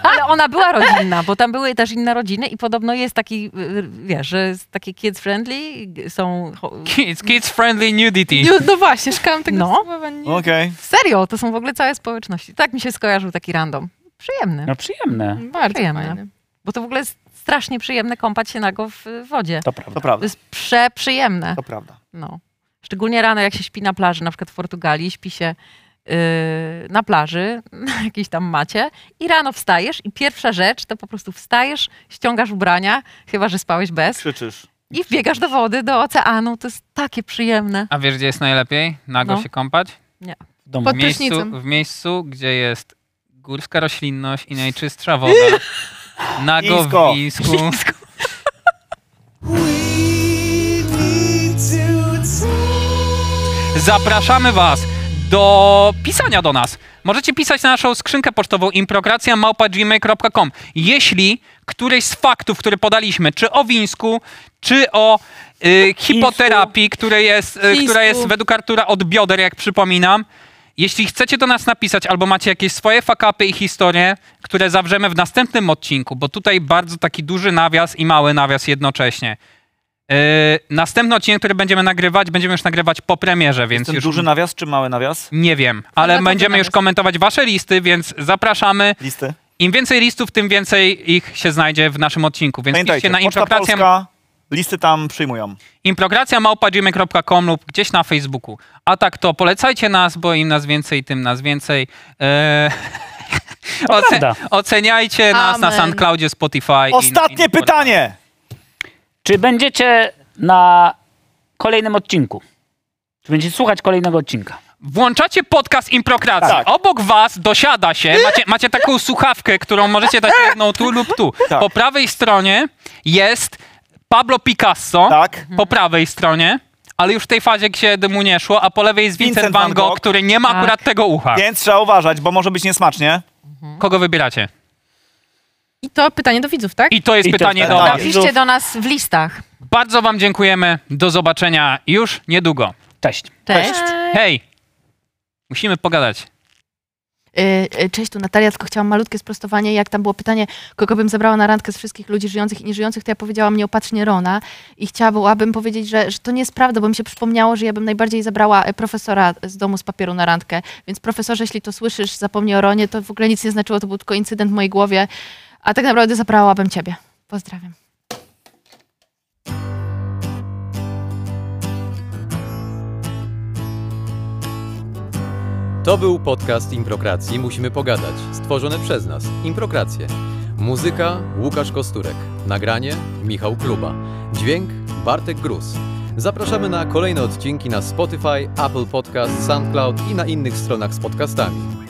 Ale ona była rodzinna, bo tam były też inne rodziny i podobno jest taki, y, y, wiesz, że jest taki kids friendly, g- są... ho-
Kids, kids friendly nudity.
no, no właśnie, szukałam tego
No.
słowa. Nie.
Okej.
Serio, to są w ogóle całe społeczności. Tak mi się skojarzył taki random. Przyjemny,
No przyjemne,
Bardzo
Przyjemne.
fajne.
bo to w ogóle jest strasznie przyjemne kąpać się nago w y, wodzie.
to prawda.
To prawda,
To jest przeprzyjemne,
to prawda.
no. Szczególnie rano, jak się śpi na plaży, na przykład w Portugalii, śpi się y, na plaży, [laughs] na jakiejś tam macie i rano wstajesz i pierwsza rzecz to po prostu wstajesz, ściągasz ubrania, chyba, że spałeś bez,
Krzyczysz.
I wbiegasz do wody, do oceanu. To jest takie przyjemne.
A wiesz, gdzie jest najlepiej nago
No.
się kąpać?
W domu.
Pod
W miejscu,
prysznicem.
w miejscu, gdzie jest górska roślinność i najczystsza
[laughs]
woda. Nago
Nisko.
w Wisku.
We need to talk.
Zapraszamy Was do pisania do nas. Możecie pisać na naszą skrzynkę pocztową improkracja.gmail.com Jeśli któryś z faktów, które podaliśmy, czy o Wińsku, czy o y, hipoterapii, które jest, y,
Chińsku.
która jest według Artura od bioder, jak przypominam, jeśli chcecie do nas napisać albo macie jakieś swoje fakapy i historie, które zawrzemy w następnym odcinku, bo tutaj bardzo taki duży nawias i mały nawias jednocześnie. Yy, następny odcinek, który będziemy nagrywać, będziemy już nagrywać po premierze, więc
Ten
już
duży nawias czy mały nawias?
nie wiem, ale
Formatowy
będziemy już
nawias.
komentować wasze listy, więc zapraszamy.
Listy.
Im więcej listów, tym więcej ich się znajdzie w naszym odcinku. Więc piszcie
Pamiętajcie,
na
Poczta
improkracja,
Polska, listy tam przyjmują.
improkracja.gmail.com lub gdzieś na Facebooku. A tak to polecajcie nas, bo im nas więcej, tym nas więcej. Eee, [laughs]
prawda.
oceniajcie nas na
Amen.
SoundCloudzie, Spotify. i-
Ostatnie
i-
pytanie!
Czy będziecie na kolejnym odcinku? Czy będziecie słuchać kolejnego odcinka?
Włączacie podcast Improkracja.
Tak.
Obok was dosiada się, macie, macie taką słuchawkę, którą możecie dać jedną tu lub tu.
Tak.
Po prawej stronie jest Pablo Picasso.
Tak.
Po prawej stronie. Ale już w tej fazie, gdzie mu nie szło, a po lewej jest Vincent,
Vincent
Van
van
Gogh,
Gogh.
który nie ma
Tak.
akurat tego ucha.
Więc trzeba uważać, bo może być niesmacznie.
Kogo wybieracie?
I to pytanie do widzów, tak?
I to jest
I to
pytanie
jest
do
pytanie.
was.
Tak.
Napiszcie do nas w listach.
Bardzo wam dziękujemy. Do zobaczenia już niedługo.
Cześć.
Cześć.
Hej! Musimy pogadać.
Y, y, Cześć, tu Natalia, tylko chciałam malutkie sprostowanie. Jak tam było pytanie, kogo bym zabrała na randkę z wszystkich ludzi żyjących i nieżyjących, to ja powiedziałam nieopatrznie Rona i chciałabym powiedzieć, że, że to nie jest prawda, bo mi się przypomniało, że ja bym najbardziej zabrała e, profesora z domu z papieru na randkę. Więc profesorze, jeśli to słyszysz, zapomnij o Ronie, to w ogóle nic nie znaczyło, to był tylko incydent w mojej głowie, a tak naprawdę zabrałabym ciebie. Pozdrawiam.
To był podcast Improkracji Musimy Pogadać, stworzony przez nas, Improkrację. Muzyka Łukasz Kosturek, nagranie Michał Kluba, dźwięk Bartek Grus. Zapraszamy na kolejne odcinki na Spotify, Apple Podcast, SoundCloud i na innych stronach z podcastami.